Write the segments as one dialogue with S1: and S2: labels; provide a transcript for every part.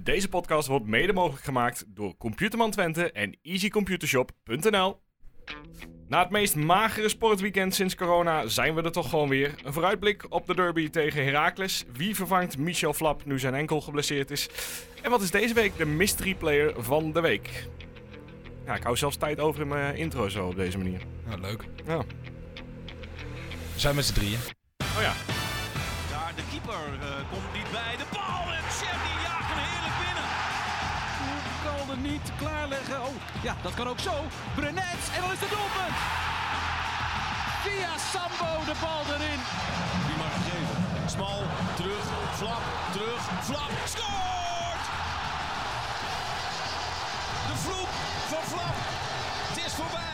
S1: Deze podcast wordt mede mogelijk gemaakt door Computerman Twente en easycomputershop.nl. Na het meest magere sportweekend sinds corona zijn we er toch gewoon weer. Een vooruitblik op de derby tegen Heracles. Wie vervangt Michel Flap nu zijn enkel geblesseerd is? En wat is deze week de mystery player van de week? Ja, ik hou zelfs tijd over in mijn intro zo op deze manier.
S2: Nou, leuk.
S1: Ja.
S2: We zijn met z'n drieën.
S1: Oh ja,
S3: Daar de keeper eh, komt niet bij de bal en Chevy jaagt hem heerlijk binnen. kan er niet klaarleggen. Oh, ja, dat kan ook zo. Brenets en dan is het doelpunt. Via Sambo de bal erin. Die mag geven. Smal, terug, flap, terug, flap. Scoort! De vloek van flap. Het is voorbij.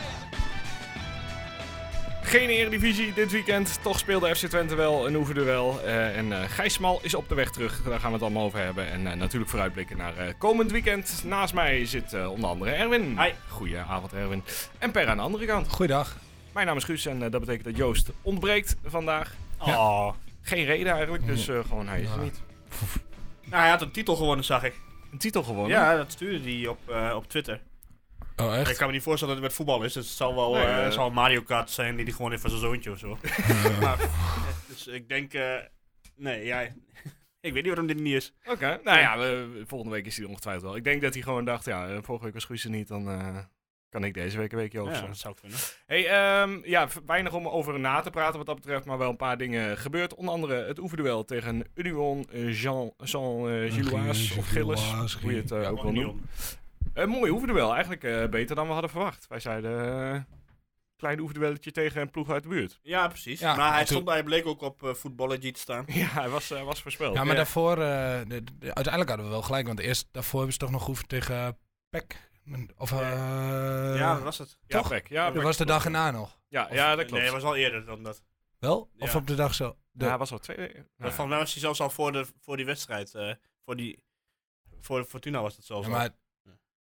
S1: Geen Eredivisie dit weekend. Toch speelde FC Twente wel een oefenduel. Eh en eh Gijs Smal is op de weg terug. Daar gaan we het allemaal over hebben. En eh, natuurlijk vooruitblikken naar eh, komend weekend. Naast mij zit eh, onder andere Erwin.
S4: Hi.
S1: Goedenavond Erwin. En Per aan de andere kant.
S2: Goeiedag.
S1: Mijn naam is Guus en eh, dat betekent dat Joost ontbreekt vandaag.
S4: Oh.
S1: Geen reden eigenlijk, dus eh, gewoon hij is er
S2: Ja.
S1: niet.
S4: Nou, hij had een titel gewonnen, zag ik.
S1: Een titel gewonnen.
S4: Ja, dat stuurde hij op, eh, op Twitter.
S2: Oh,
S4: Ik kan me niet voorstellen dat het met voetbal is. Het zal wel
S1: Nee,
S4: eh,
S1: eh.
S4: het zal een Mario Kart zijn die hij gewoon heeft van zijn zoontje of zo. maar, eh, dus ik denk... eh, nee, ja... ik weet niet waarom dit niet is.
S1: Oké, nou ja, we- volgende week is hij er ongetwijfeld wel. Ik denk dat hij gewoon dacht, ja, eh, vorige week was Guus er niet, dan eh, kan ik deze week een weekje over.
S4: Ja,
S1: zo.
S4: dat zou kunnen.
S1: Hey, ehm, ja, v- weinig om over na te praten wat dat betreft, maar wel een paar dingen gebeurd. Onder andere het oefenduel tegen Union eh, Jean, Jean eh, Gilloise of Gilles, hoe je het eh, ook wil
S4: Gewoon
S1: noemen.
S4: Union.
S1: Een mooi oefenduel, eigenlijk eh, beter dan we hadden verwacht. Wij zeiden, eh, klein oefenduelletje tegen een ploeg uit de buurt.
S4: Ja, precies.
S2: Ja,
S4: maar hij,
S2: maar toen-
S4: stond, hij bleek ook op eh Footballergy te staan.
S1: Ja, hij was, eh, was voorspeld.
S2: Ja,
S1: Ja,
S2: maar
S4: Ja.
S2: daarvoor... eh, de- de- uiteindelijk hadden we wel gelijk. Want eerst daarvoor hebben ze toch nog geoefend tegen Peck. Of... eh
S4: ja, dat was het.
S2: toch?
S1: Pek, ja,
S2: dat
S1: Pek.
S2: was de dag erna nog.
S1: ja, ja, dat
S4: Nee,
S1: klopt.
S4: hij was al eerder dan dat.
S2: Wel?
S4: Ja.
S2: Of op de dag zo? De,
S1: Ja, hij was al twee nou ja.
S4: Van mij was hij zelfs al voor, de, voor die wedstrijd. eh, voor die... Voor Fortuna was dat zelfs
S2: Ja,
S4: al.
S2: maar...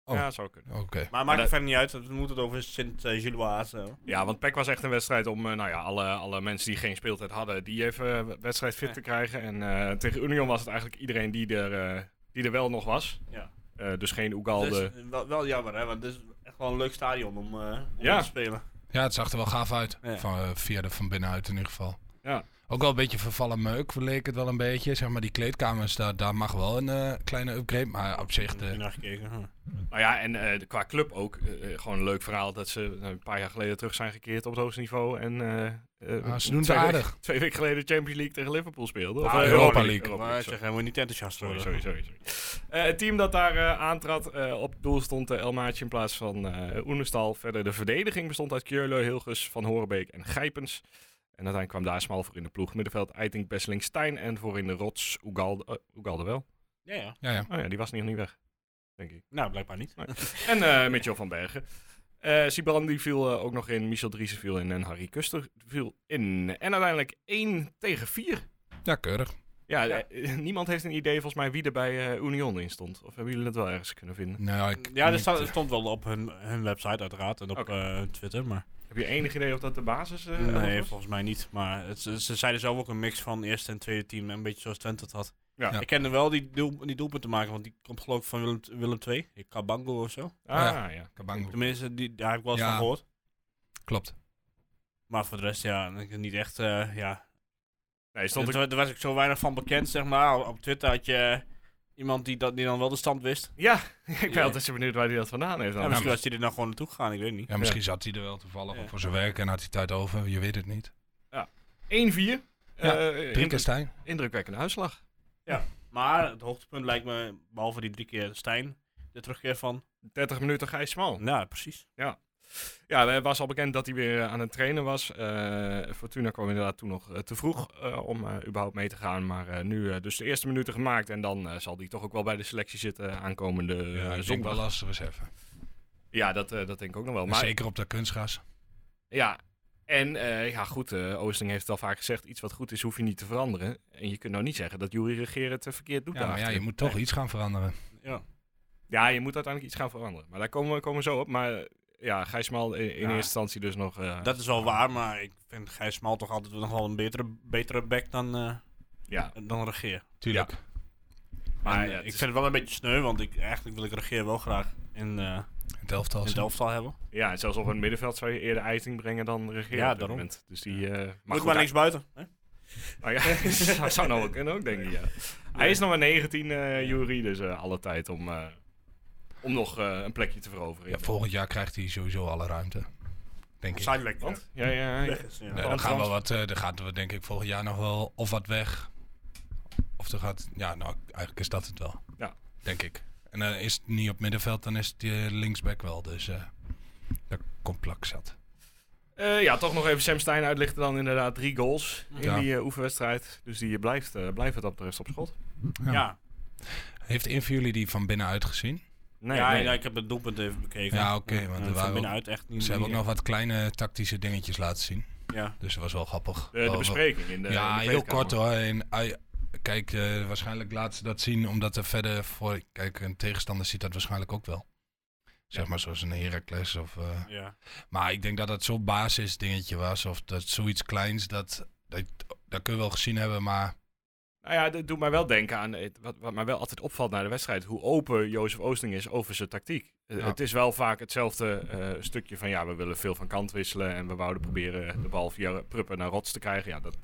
S2: oh.
S1: Ja, zou kunnen.
S2: Oké.
S4: Maar
S1: Maar
S4: maakt
S1: dat-
S4: het verder niet uit, want we moeten het over eh, Sint-Gilloise hebben.
S1: Ja, want PEC was echt een wedstrijd om eh, nou ja, alle, alle mensen die geen speeltijd hadden, die even eh, wedstrijdfit
S4: Ja.
S1: te krijgen. En eh, tegen Union was het eigenlijk iedereen die er, eh, die er wel nog was.
S4: Ja.
S1: Eh, dus geen Oegalde.
S4: Dus, eh, wel, wel jammer, hè, want het is echt wel een leuk stadion om, eh, om
S1: Ja.
S4: te spelen.
S2: Ja, het zag er wel gaaf uit.
S4: Ja.
S2: Van, eh, via de van binnenuit in ieder geval.
S1: Ja.
S2: Ook wel een beetje vervallen meuk, leek het wel een beetje. Zeg maar, die kleedkamers, daar, daar mag wel een eh, kleine upgrade. Maar op zich,
S4: Heb je Hm.
S2: de,
S4: naar gekeken. Huh.
S1: Nou ja, en eh, qua club ook. eh, eh, gewoon een leuk verhaal dat ze eh, een paar jaar geleden terug zijn gekeerd op het hoogste niveau. En eh, eh,
S2: Ah, ze doen het
S1: twee weken-
S2: aardig.
S1: Twee weken geleden Champions League tegen Liverpool speelden.
S4: Ah,
S1: eh,
S2: Europa League.
S1: Europa
S4: Maar ik
S1: sorry.
S4: zeg, hij moet niet enthousiast
S1: Sorry,
S4: worden.
S1: sorry, sorry. sorry. Eh, het team dat daar eh, aantrad, eh, op doel stond eh, El Maatje in plaats van eh Oenestal. Verder de verdediging bestond uit Kjörlo, Hilgers, Van Horenbeek en Gijpens. En uiteindelijk kwam daar smal voor in de ploeg. Middenveld Eiting, Besseling, Stijn en voor in de rots Oegalde, eh, Oegalde wel.
S4: Ja, ja.
S2: ja, ja.
S1: Oh ja, die was nog niet weg, denk ik.
S4: Nou, blijkbaar niet.
S1: En eh Mitchell van Bergen. Eh Sibran die viel eh, ook nog in, Michel Driessen viel in en Harry Kuster viel in. En uiteindelijk 1 tegen 4.
S2: ja, keurig.
S1: Ja, eh, niemand heeft een idee volgens mij wie er bij eh, Union in stond. Of hebben jullie het wel ergens kunnen vinden?
S2: Nou, ik,
S4: Ja, dat
S2: niet,
S4: stond,
S2: eh,
S4: dat stond wel op hun, hun website uiteraard en op
S1: Oké.
S4: eh, hun Twitter, maar...
S1: Heb je enig idee of dat de basis eh,
S4: nee,
S1: was?
S4: volgens mij niet. Maar het, ze ze zeiden zelf ook een mix van eerste en tweede team, een beetje zoals Twente het had.
S1: Ja.
S4: Ik kende wel die, doel, die doelpunten maken, want die komt geloof ik van Willem, Willem II, die Kabango of zo.
S1: Ah, ja.
S2: Kabango.
S4: Tenminste, die, daar heb ik wel eens
S2: Ja.
S4: van gehoord.
S2: Klopt.
S4: Maar voor de rest, ja, ik- niet echt, eh, ja.
S1: Nee, stond
S4: Er,
S1: ik...
S4: er was ik zo weinig van bekend, zeg maar. Op- Op Twitter had je eh, iemand die, dat, die dan wel de stand wist.
S1: Ja, ik ben
S4: Ja.
S1: altijd zo benieuwd waar hij dat vandaan heeft.
S4: Ja,
S1: Dan.
S4: misschien was hij er nou gewoon naartoe gegaan, ik weet niet.
S2: Ja, misschien zat hij er wel toevallig
S4: Ja.
S2: of voor zijn werk en had hij tijd over. Je weet het niet.
S1: 1-4.
S2: Ja,
S1: Eh,
S2: Drie
S1: indru-
S2: keer Stijn.
S1: indrukwekkende uitslag.
S4: Maar het hoogtepunt lijkt me, behalve die drie keer Stijn, de terugkeer van.
S1: 30 minuten Gijs Smal.
S4: Nou, precies.
S1: Ja, het was al bekend dat hij weer eh, aan het trainen was. Eh, Fortuna kwam inderdaad toen nog eh, te vroeg eh, om eh, überhaupt mee te gaan. Maar eh, nu eh, dus de eerste minuten gemaakt. En dan eh, zal hij toch ook wel bij de selectie zitten aankomende eh,
S2: Ja, ik denk wel
S1: zondag.
S2: als reserve.
S1: Ja, dat, eh, dat denk ik ook nog wel.
S2: En
S1: Maar
S2: Zeker op dat kunstgras.
S1: Ja, en eh, ja, goed, eh Oosting heeft het al vaak gezegd, iets wat goed is hoef je niet te veranderen. En je kunt nou niet zeggen dat Jury Regeren het eh, verkeerd doet.
S2: Ja, maar ja,
S1: daarachter.
S2: je moet toch
S4: Nee.
S2: iets gaan veranderen.
S4: Ja.
S1: ja, je moet uiteindelijk iets gaan veranderen. Maar daar komen we, komen we zo op. Maar eh, ja, Gijsmaal in, in
S4: Ja.
S1: eerste instantie dus nog... eh,
S4: Dat is wel waar, maar ik vind Gijs Smal toch altijd nog wel een betere, betere back dan, eh
S1: ja.
S4: dan Regeer.
S2: Tuurlijk.
S4: Maar
S1: En,
S4: eh,
S1: ja, het
S4: ik
S1: is-
S4: vind het wel een beetje sneu, want ik, eigenlijk wil ik regeer wel graag in, eh
S2: Het elftal.
S4: in het elftal hebben.
S1: Ja, en zelfs op het middenveld zou je eerder eiting brengen dan regeren.
S4: Ja,
S1: op dit
S4: daarom.
S1: moment. Dus die, eh,
S4: Maar
S1: goed,
S4: Moet maar
S1: hij-
S4: niks buiten. Hè?
S1: Nou ja, dat zou nou wel kunnen ook, denk ik. Ja. Hij is nog maar 19, eh Jury, dus eh, alle tijd om, eh, om nog eh, een plekje te veroveren.
S2: Ja, volgend jaar krijgt hij sowieso alle ruimte. Denk ik.
S4: Zuidelijk.
S1: Want? Ja, ja, ja.
S4: Weg is, ja.
S2: Nee, dan gaan we wat, eh dan gaat we denk ik volgend jaar nog wel of wat weg. Of er gaat, ja, nou, eigenlijk is dat het wel.
S1: Ja.
S2: Denk ik. En dan is het niet op middenveld, dan is het eh, linksback wel. Dus eh dat komt plak zat.
S1: Eh, ja, toch nog even Sam Stein uitlichten dan inderdaad drie goals in
S2: Ja.
S1: die eh, oefenwedstrijd. Dus die blijft, eh, blijft het op de rest op schot.
S4: Ja, ja.
S2: Heeft een van jullie die van binnenuit gezien?
S1: Nee,
S4: ja, ik heb het doelpunt even bekeken.
S2: Ja, oké, want er
S4: van
S2: waren ook-
S4: binnenuit echt niet
S2: Ze hebben ook
S4: niet
S2: nog wat kleine tactische dingetjes laten zien.
S4: echt- Ja.
S2: Dus dat was wel grappig.
S1: Eh, de,
S2: Wel-
S1: de
S2: wel-
S1: bespreking in de in
S2: ja,
S1: de
S2: heel
S1: kleedkamer.
S2: kort hoor. En, ui- kijk, eh, waarschijnlijk laten ze dat zien omdat er verder voor... Kijk, een tegenstander ziet dat waarschijnlijk ook wel. Zeg maar zoals een Heracles of... eh,
S4: Ja.
S2: Maar ik denk dat dat zo'n basisdingetje was. Of dat zoiets kleins, dat, dat, dat kun je wel gezien hebben, maar...
S1: Nou ja, dat doet mij wel denken aan het- wat, wat mij wel altijd opvalt naar de wedstrijd. Hoe open Jozef Oosting is over zijn tactiek. Eh,
S2: Ja.
S1: Het is wel vaak hetzelfde eh, stukje van ja, we willen veel van kant wisselen. En we wouden proberen de bal via Pruppen naar Rots te krijgen. Ja, dat,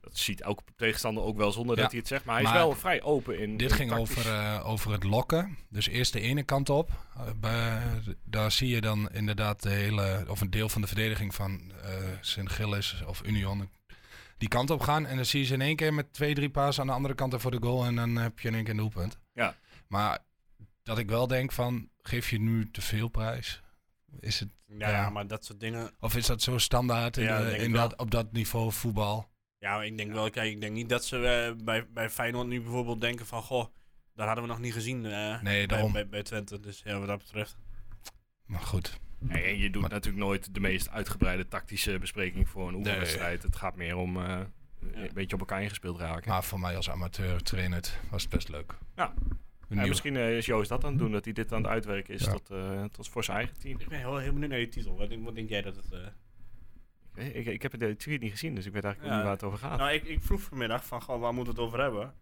S1: dat ziet elke tegenstander ook wel zonder
S2: Ja.
S1: dat hij het zegt. Maar hij
S2: Maar
S1: is wel vrij open in
S2: Dit
S1: in
S2: ging
S1: tactisch.
S2: over, eh, over het lokken. Dus eerst de ene kant op. Eh, bij- daar zie je dan inderdaad de hele, of een deel van de verdediging van eh Sint-Gilles of Union die kant op gaan. En dan zie je ze in één keer met twee, drie paas aan de andere kant er voor de goal. En dan heb je in één keer een doelpunt.
S1: Ja.
S2: Maar dat ik wel denk van, geef je nu te veel prijs? Is het,
S4: Ja,
S2: Ja.
S4: maar dat soort dingen.
S2: of is dat zo standaard in
S4: Ja,
S2: de-
S4: dat denk
S2: in
S4: ik wel.
S2: dat, op dat niveau voetbal?
S4: Ja, maar ik denk wel, kijk, ik denk niet dat ze eh, bij, bij Feyenoord nu bijvoorbeeld denken van, goh, dat hadden we nog niet gezien eh,
S2: Nee,
S4: bij,
S2: daarom.
S4: bij, bij Twente. Dus ja, wat dat betreft.
S2: Maar goed.
S1: Nee, en je doet
S2: Maar-
S1: natuurlijk nooit de meest uitgebreide tactische bespreking voor een oefenwedstrijd. Het gaat meer om eh,
S4: Ja.
S1: een beetje op elkaar ingespeeld raken.
S2: Maar voor mij als amateur trainer was het best leuk.
S1: Ja.
S2: Een
S1: en
S2: nieuwe-
S1: misschien eh, is Joost dat aan het doen, dat hij dit aan het uitwerken is
S2: Ja.
S1: tot, eh, tot voor zijn eigen team.
S4: Ik ben heel, heel benieuwd naar je titel. Wat, denk- wat denk jij dat het... eh,
S1: Nee, Ik, ik heb de tweet niet gezien, dus ik weet eigenlijk
S4: Ja.
S1: niet waar het over gaat.
S4: Nou, ik, ik vroeg vanmiddag van, goh, waar moeten we het over hebben?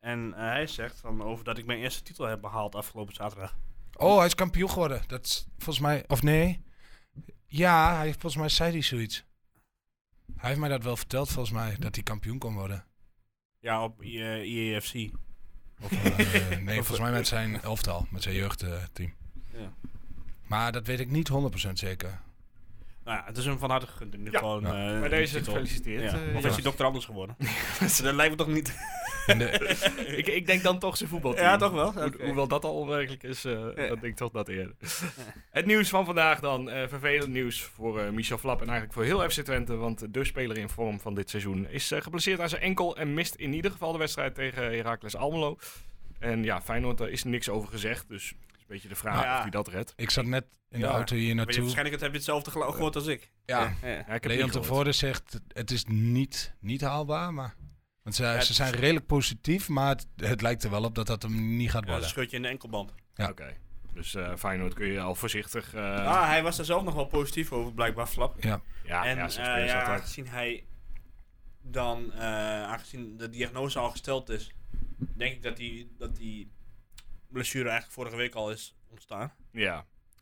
S4: En eh, hij zegt van, over dat ik mijn eerste titel heb behaald afgelopen zaterdag.
S2: Oh, hij is kampioen geworden. Dat is volgens mij. Of nee? Ja, hij, volgens mij zei hij zoiets. Hij heeft mij dat wel verteld, volgens mij, dat hij kampioen kon worden.
S4: Ja, op eh, IE IEFC.
S2: Of, eh, nee, volgens mij met zijn elftal, met zijn jeugdteam.
S4: Ja.
S2: Maar dat weet ik niet 100% zeker.
S4: Nou ja, het is hem van harte gegund. in ieder
S1: Ja.
S4: geval een,
S2: Ja.
S4: eh,
S1: Bij
S4: een
S1: deze
S4: titel.
S1: gefeliciteerd,
S4: Ja.
S1: eh,
S4: Of is
S1: ja.
S4: hij dokter anders geworden? dat lijkt me toch niet.
S2: En de-
S1: ik, ik denk dan toch zijn voetbalteam.
S4: Ja, toch wel?
S1: Hoe-
S4: Oké.
S1: Hoewel dat al onwerkelijk is, eh dat
S4: Ja.
S1: denk ik toch dat eerder. Het nieuws van vandaag dan. eh, vervelend nieuws voor eh, Michel Flap en eigenlijk voor heel FC Twente. Want de speler in vorm van dit seizoen is eh, geblesseerd aan zijn enkel. En mist in ieder geval de wedstrijd tegen Heracles Almelo. En ja, Feyenoord, daar is niks over gezegd. Dus het is een beetje de vraag
S4: Ja.
S1: of hij dat redt.
S2: ik zat net in
S4: Ja,
S2: de auto hier
S4: Weet je,
S2: naartoe.
S4: waarschijnlijk heb je hetzelfde gelo- gehoord als ik.
S2: Ja,
S4: ja.
S1: Ja, ik heb
S2: Leon
S1: niet gehoord.
S2: tevoren zegt, het is niet, niet haalbaar, maar... Want ze,
S4: het
S2: ze
S4: is-
S2: zijn redelijk positief, maar het, het lijkt er wel op dat dat hem niet gaat
S4: Ja, dat
S2: worden.
S4: scheurt je in de enkelband.
S2: Ja.
S1: Oké. Dus eh, Feyenoord kun je al voorzichtig... eh,
S4: ah, hij was er zelf nog wel positief over, blijkbaar, Flap.
S2: Ja,
S1: Ja,
S4: en
S1: ja, zo'n
S4: eh,
S1: speler is
S4: ja,
S1: altijd-
S4: aangezien hij dan, eh, aangezien de diagnose al gesteld is, denk ik dat die, dat die blessure eigenlijk vorige week al is ontstaan.
S1: Ja,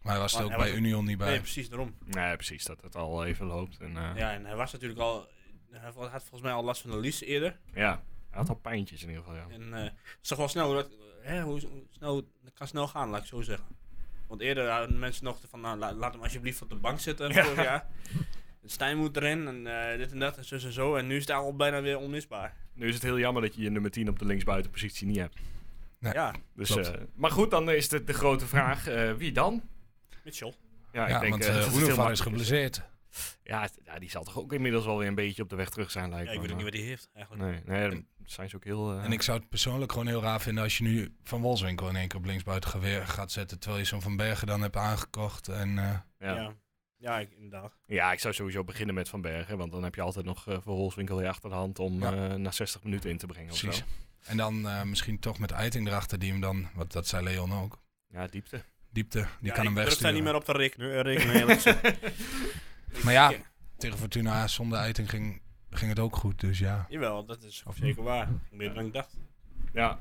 S2: maar hij was er
S4: Maar
S2: ook
S4: hij
S2: bij
S4: was-
S2: Union niet bij.
S4: Nee, precies, daarom.
S1: nee, precies. Dat het al even loopt. En, eh, ja.
S4: Ja, en hij was natuurlijk al, hij had volgens mij al last van de lies eerder.
S1: Hij had al pijntjes in ieder geval, ja.
S4: En eh, het is toch wel snel, hoe dat, eh, hè, hoe, hoe snel, dat kan snel gaan, laat ik zo zeggen. Want eerder hadden mensen nog van, nou, la- laat hem alsjeblieft op de bank zitten
S1: Ja.
S4: vorig jaar. Stijn moet erin en eh, dit en dat en zo en zo. En nu is het daar al bijna weer onmisbaar.
S1: Nu is het heel jammer dat je je nummer 10 op de linksbuitenpositie niet hebt.
S2: Ja.
S4: ja.
S1: Dus,
S2: Klopt.
S1: eh, maar goed, dan is het de grote vraag. eh, wie dan?
S4: Mitchell.
S1: Ja,
S2: Ja,
S1: ik denk
S2: want
S1: eh, dat
S2: eh
S1: het heel
S2: Unova is
S1: makkelijk
S2: geblesseerd.
S1: Ja, het- ja, die zal toch ook inmiddels wel weer een beetje op de weg terug zijn, lijkt
S4: Ja, ik
S1: me.
S4: weet ook niet
S1: maar-
S4: wat hij heeft eigenlijk.
S1: Nee, nee, dan zijn ze ook heel... eh,
S2: En ik zou het persoonlijk gewoon heel raar vinden als je nu Van Wolfswinkel in één keer op linksbuiten gaat weer- gaat zetten. Terwijl je zo'n Van Bergen dan hebt aangekocht. En, eh,
S1: ja. Ja.
S4: Ja, ja ik, inderdaad.
S1: ik zou sowieso beginnen met Van Bergen. Want dan heb je altijd nog eh voor Holswinkel je achter de hand om
S2: Ja.
S1: eh, na 60 minuten in te brengen of
S2: precies.
S1: zo.
S2: en dan eh, misschien toch met Eiting erachter die hem dan, want dat zei Leon ook,
S1: Ja, diepte.
S2: diepte, die
S4: ja,
S2: kan
S4: ik
S2: hem
S4: durf daar
S2: wegsturen.
S4: niet meer op te rekenen. eh, rekenen, eerlijk gezegd.
S2: Maar ja, tegen Fortuna zonder Eiting ging, ging het ook goed. Dus ja,
S4: Jawel, dat is
S2: Of-
S4: zeker waar. Meer dan ik dacht.
S1: Ja.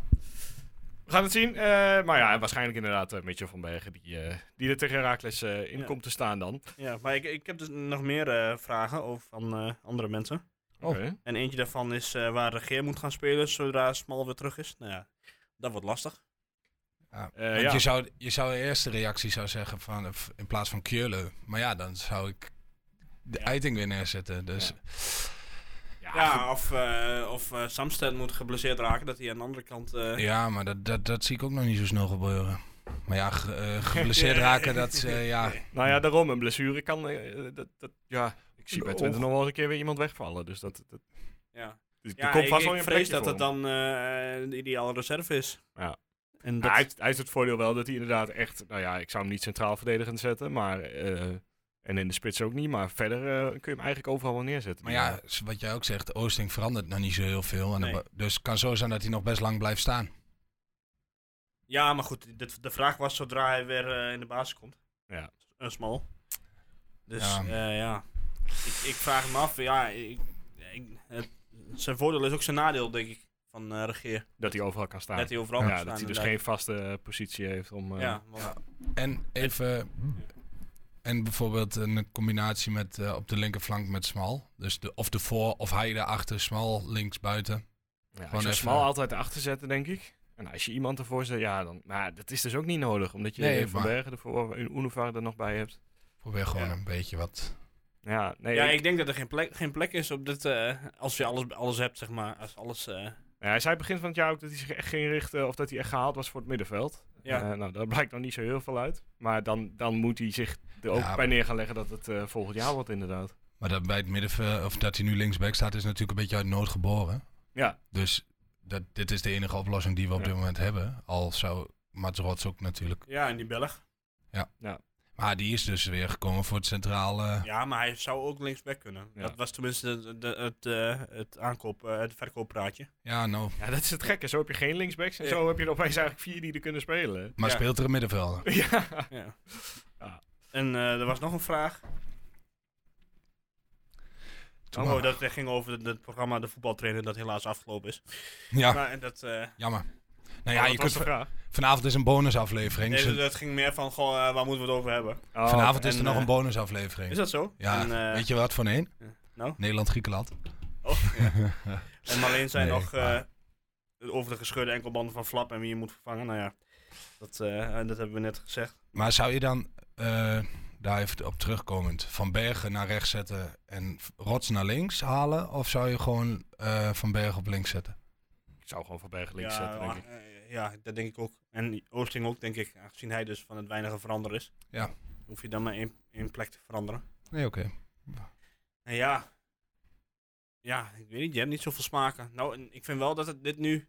S1: We gaan het zien. Eh, maar ja, waarschijnlijk inderdaad eh, Mitchell van Bergen die, eh, die er tegen Herakles eh, in
S4: Ja.
S1: komt te staan dan.
S4: Ja, maar ik, ik heb dus nog meer eh, vragen over van eh, andere mensen.
S2: Oh.
S1: Oké.
S4: En eentje daarvan is eh, waar Regeer moet gaan spelen zodra Smal weer terug is. Nou ja, dat wordt lastig.
S1: Eh,
S2: Want
S1: ja.
S2: je, zou, je zou de eerste reactie zou zeggen van eh, f- in plaats van Keulen. Maar ja, dan zou ik de uiting weer neerzetten. Dus
S1: Ja, goed.
S4: Ja, of, eh of eh, Samsted moet geblesseerd raken, dat hij aan de andere kant... eh,
S2: ja, maar dat, dat, dat zie ik ook nog niet zo snel gebeuren. Maar ja, ge- eh, geblesseerd raken, dat is, eh, ja.
S1: Nou ja, daarom. Een blessure kan... eh, eh, dat, dat, ja, ik zie bij
S2: Oh.
S1: Twente nog wel eens een keer weer iemand wegvallen. Dus dat... dat
S4: ja.
S1: er
S4: Ja,
S1: komt
S4: ik,
S1: vast
S4: ik
S1: wel weer een
S4: vrees
S1: plekje
S4: dat
S1: voor hem.
S4: het dan eh, de ideale reserve is.
S1: Ja.
S4: En
S1: Nou,
S4: dat,
S1: hij, heeft, hij heeft het voordeel wel dat hij inderdaad echt... Nou ja, ik zou hem niet centraal verdedigend zetten, maar... eh, en in de spits ook niet, maar verder eh, kun je hem eigenlijk overal wel neerzetten.
S2: Maar ja, s- wat jij ook zegt, Oosting verandert nog niet zo heel veel. En
S4: Nee.
S2: dan- dus het kan zo zijn dat hij nog best lang blijft staan.
S4: ja, maar goed, dit, de vraag was zodra hij weer eh, in de basis komt.
S1: Ja.
S4: Een Smal. Dus
S2: Ja.
S4: ja, ja. Ik, ik vraag me af, ja, ik, ik- het- zijn voordeel is ook zijn nadeel, denk ik, van eh Regeer.
S1: Dat hij overal kan staan.
S4: Dat hij overal
S1: ja,
S4: kan staan,
S1: dat hij dus
S4: inderdaad.
S1: geen vaste eh, positie heeft om... eh,
S4: Ja, want-
S2: En even. En bijvoorbeeld een combinatie met eh, op de linkerflank met Smal. Dus de, of de voor of hij daarachter, Smal links buiten.
S1: Ja,
S2: Gewoon
S1: als je
S2: even-
S1: smal altijd erachter zetten, denk ik. En als je iemand ervoor zet, ja, dan... Maar dat is dus ook niet nodig, omdat je
S2: Nee,
S1: Van
S2: maar-
S1: Bergen ervoor en Unovar er nog bij hebt.
S2: Probeer gewoon
S4: Ja.
S2: een beetje wat.
S1: Ja, nee,
S4: ja,
S1: ik-
S4: ik denk dat er geen plek, geen plek is op dit, eh, als je alles, alles hebt, zeg maar. Als alles, eh,
S1: nou, hij zei begin van het jaar ook dat hij zich echt ging richten, of dat hij echt gehaald was voor het middenveld.
S4: ja.
S1: Eh, nou, daar blijkt nog niet zo heel veel uit. Maar dan, dan moet hij zich er ook
S2: Ja,
S1: bij
S2: maar-
S1: neer gaan leggen dat het eh, volgend jaar wordt, inderdaad.
S2: Maar dat bij het middenveld, of dat hij nu linksback staat, is natuurlijk een beetje uit nood geboren.
S1: Ja,
S2: Dus dat, dit is de enige oplossing die we op
S1: Ja.
S2: dit moment hebben. Al zou Mats Rots ook natuurlijk.
S4: ja, en die Belg.
S2: Maar die is dus weer gekomen voor het centrale.
S4: Ja, maar hij zou ook linksback kunnen.
S1: Ja.
S4: Dat was tenminste de, de- het, eh, het aankoop, eh, het verkooppraatje.
S2: Ja, nou.
S1: ja, dat is het gekke. Zo heb je geen linksbacks en
S4: Ja.
S1: zo heb je er opeens eigenlijk vier die er kunnen spelen.
S2: Maar
S4: Ja.
S2: speelt er een middenvelder?
S1: ja.
S4: Ja.
S1: Ja.
S4: En eh, er was nog een vraag.
S2: Doe
S4: Oh,
S2: maar.
S4: dat ging over het, het programma De Voetbaltrainer dat helaas afgelopen is.
S2: Ja,
S1: Ah.
S4: Maar en dat, eh,
S2: jammer. Nou ja,
S1: ja
S2: je kunt,
S1: de vraag.
S2: vanavond is een bonusaflevering.
S4: nee,
S2: Ze-
S4: dat- dat ging meer van, goh, eh, waar moeten we het over hebben?
S1: Oh,
S2: Vanavond is
S4: en,
S2: er nog
S4: eh,
S2: een bonusaflevering.
S4: Is dat zo?
S2: Ja,
S4: En, eh,
S2: weet je wat voor een?
S4: nou?
S2: Nederland-Griekenland.
S4: Oh, ja. En alleen zijn
S2: Nee,
S4: nog eh,
S2: maar-
S4: over de gescheurde enkelbanden van Flap en wie je moet vervangen. Nou ja, dat, eh, dat hebben we net gezegd.
S2: Maar zou je dan, eh, daar even op terugkomend, Van Bergen naar rechts zetten en Rots naar links halen? Of zou je gewoon eh, Van Bergen op links zetten?
S1: Ik zou gewoon Van Bergen links
S4: ja,
S1: zetten, denk ik.
S4: ah, eh, ja, dat denk ik ook. En Oosting ook, denk ik. Aangezien hij dus van het weinige veranderen is.
S2: Ja.
S4: Hoef je dan maar één, één plek te veranderen.
S2: Nee, oké.
S4: En ja. Ja, ik weet niet. Je hebt niet zoveel smaken. Nou, en ik vind wel dat het dit nu...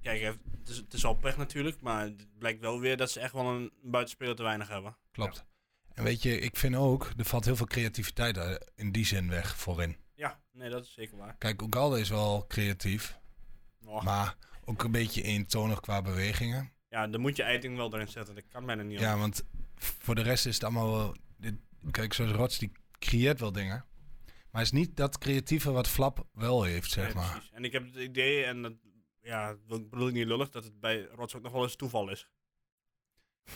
S4: Kijk, eh, het is, het is al pech natuurlijk. Maar het blijkt wel weer dat ze echt wel een buitenspeler te weinig hebben.
S2: Klopt. En weet je, ik vind ook, er valt heel veel creativiteit eh, in die zin weg voorin.
S4: Ja, nee, dat is zeker waar.
S2: Kijk, Ugalde is wel creatief,
S4: Och,
S2: maar ook een beetje eentonig qua bewegingen.
S4: Ja, dan moet je Eiting wel erin zetten. Dat kan bijna niet
S2: Ja, want voor de rest is het allemaal wel... Dit, kijk, zoals Rots, die creëert wel dingen. Maar het is niet dat creatieve wat Flap wel heeft, zeg
S4: Nee,
S2: maar.
S4: precies. En ik heb het idee, en dat ja, dat bedoel ik niet lullig, dat het bij Rots ook nog wel eens toeval is.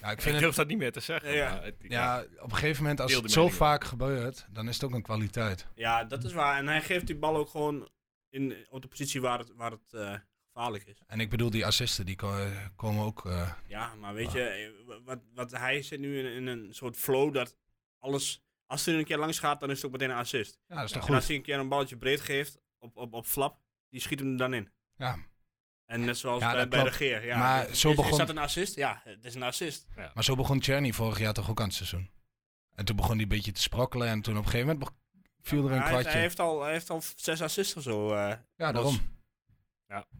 S2: Ja, ik
S1: Ik
S2: vind het,
S1: durf dat niet meer te zeggen.
S4: Ja.
S1: maar het-
S2: ja, op een gegeven moment, als
S1: Deel
S2: het
S1: die
S2: zo
S1: mening wel.
S2: vaak gebeurt, dan is het ook een kwaliteit.
S4: Ja, dat is waar. En hij geeft die bal ook gewoon in, op de positie waar het, waar het eh, gevaarlijk is.
S2: En ik bedoel, die assisten, die ko- eh, komen ook... eh,
S4: Ja, maar weet je, eh, wa- wat, wat hij zit nu in, in een soort flow dat alles, als hij er een keer langs gaat, dan is het ook meteen een assist.
S2: ja, dat is toch
S4: En als
S2: goed.
S4: hij een keer een balletje breed geeft op, op, op flap, die schiet hem er dan in.
S2: Ja.
S4: En net zoals
S2: Ja,
S4: bij,
S2: dat
S4: bij de
S2: klopt.
S4: Geer. Ja,
S2: Maar
S4: Is-
S2: zo
S4: is,
S2: begon-
S4: Is dat een assist? Ja, het is een assist.
S2: Maar zo begon Czerny vorig jaar toch ook aan het seizoen. En toen begon hij een beetje te sprokkelen en toen op een gegeven moment be- viel er een
S4: Hij heeft,
S2: kwartje.
S4: hij, heeft al, hij heeft al zes assists of zo eh,
S2: ja, daarom.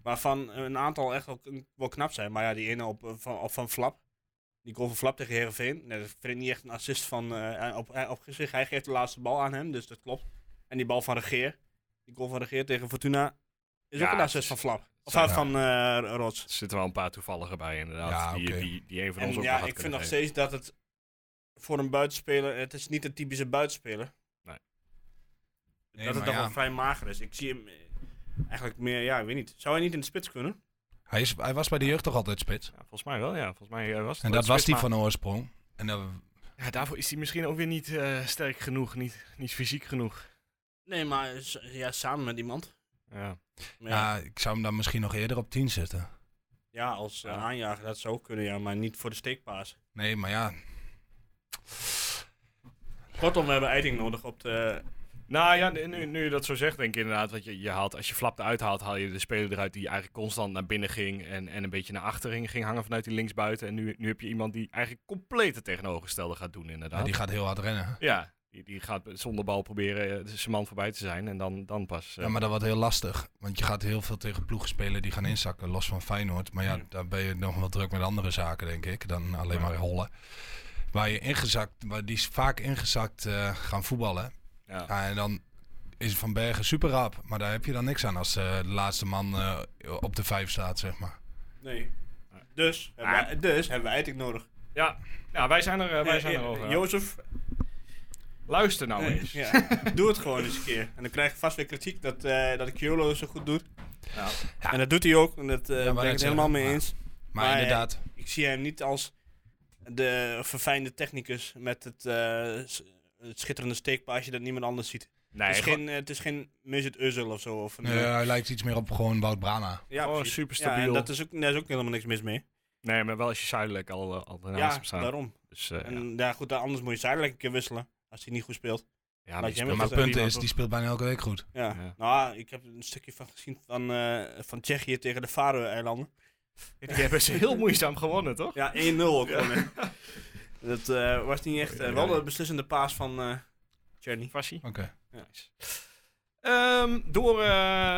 S4: Waarvan een aantal echt wel, wel knap zijn. Maar ja, die ene op, eh, van, op van Flap. Die goal van Flap tegen Herenveen. Nee, dat vind ik niet echt een assist van, eh, op, eh, op gezicht. Hij geeft de laatste bal aan hem, dus dat klopt. En die bal van Regeer. Die goal van Regeer tegen Fortuna. Is
S1: Ja,
S4: ook een assist
S1: het
S4: van
S1: is-
S4: Flap. Of
S1: Ja.
S4: van eh Rots.
S1: Er zitten wel een paar toevallige bij, inderdaad.
S2: Ja,
S1: die,
S2: oké.
S1: die, die een van ons
S4: En
S1: ook
S4: ja,
S1: nog had
S4: ik vind
S1: kunnen
S4: nog
S1: geven.
S4: steeds dat het voor een buitenspeler... Het is niet een typische buitenspeler.
S1: Nee.
S2: Nee, maar
S4: dat het toch
S2: ja.
S4: wel vrij mager is. Ik zie hem eh, eigenlijk meer... Ja, ik weet niet. Zou hij niet in de spits kunnen?
S2: Hij, is, hij was bij de jeugd toch altijd spits?
S1: Ja, volgens mij wel, ja. Volgens mij eh, was het
S2: En
S1: wel
S2: dat was
S1: spits,
S2: hij
S1: maar-
S2: van oorsprong. En eh, dat,
S1: Ja, daarvoor is hij misschien ook weer niet eh, sterk genoeg, niet, niet fysiek genoeg.
S4: Nee, maar s- ja, samen met iemand.
S1: Ja.
S4: Maar ja,
S2: ja. ik zou hem dan misschien nog eerder op 10 zetten.
S4: ja, als eh, aanjager, dat zou ook kunnen, ja, maar niet voor de steekpaas.
S2: Nee, maar ja.
S4: Kortom, we hebben Eiding nodig op de...
S1: Nou ja, nu- nu, nu je dat zo zegt, denk ik inderdaad. Want je, je haalt, als je flap eruit haalt, haal je de speler eruit die eigenlijk constant naar binnen ging. En, en een beetje naar achteren ging hangen vanuit die linksbuiten. En nu, nu heb je iemand die eigenlijk compleet het tegenovergestelde gaat doen,
S2: Ja,
S1: inderdaad.
S2: die gaat heel hard rennen.
S1: Ja, die, die gaat zonder bal proberen eh, zijn man voorbij te zijn. En dan, dan pas. eh,
S2: Ja, maar dat wordt heel lastig. Want je gaat heel veel tegen ploegen spelen die gaan inzakken, los van Feyenoord. Maar ja,
S1: Hmm.
S4: Ja.
S2: daar ben je nog wel druk met andere zaken, denk ik, dan alleen maar hollen. Waar je ingezakt, waar die vaak ingezakt eh, gaan voetballen.
S1: ja.
S2: Ja, en dan is Van Bergen super rap. Maar daar heb je dan niks aan als eh, de laatste man eh, op de vijf staat, zeg maar.
S4: Nee. Dus, hebben wij, dus hebben we Eiting nodig.
S1: Ja. ja, wij zijn er, eh, wij zijn
S4: Eh,
S1: er
S4: eh,
S1: over.
S4: Jozef, eh,
S1: Luister nou eens.
S4: ja, doe het gewoon eens een keer. En dan krijg je vast weer kritiek dat, eh dat ik Jolo zo goed doe.
S1: Ja.
S4: En dat doet hij ook, en dat eh,
S2: wou
S4: ben
S2: ik
S4: ik het
S2: zeggen,
S4: helemaal mee
S2: maar-
S4: eens.
S2: Maar,
S4: Maar, eh,
S2: inderdaad,
S4: Ik zie hem niet als de verfijnde technicus met het, eh, s- het schitterende steekpaasje dat niemand anders ziet.
S1: Nee,
S4: het, is
S1: gewoon-
S4: geen, eh, het is geen Mesut Özil of zo. Of een,
S2: eh,
S4: eh,
S2: hij lijkt iets meer op gewoon Wout Brana.
S4: ja,
S1: gewoon
S4: precies.
S1: superstabiel.
S4: Ja, en dat is ook, daar is ook helemaal niks mis mee.
S1: nee, maar wel als je zuidelijk al, eh, al naast
S4: ja,
S1: hem staat.
S4: daarom.
S1: Dus, eh, ja.
S4: En ja, goed, daar- anders moet je zuidelijk een keer wisselen. Als hij niet goed speelt.
S1: Ja, maar die
S4: Laat jij
S1: speelt-
S2: Maar
S4: maar
S2: het punt
S1: prima,
S2: is,
S1: toch?
S2: die speelt bijna elke week goed.
S4: Ja.
S1: Ja.
S4: Nou, ik heb een stukje van gezien van, eh, van Tsjechië tegen de Faroe-eilanden.
S1: Die hebben ze heel moeizaam gewonnen, toch?
S4: Ja, 1-0 ook. gewoon. Dat eh, was niet echt... eh, wel de beslissende paas van eh Tjerni.
S1: Fassi.
S2: Oké.
S1: Ehm, door eh,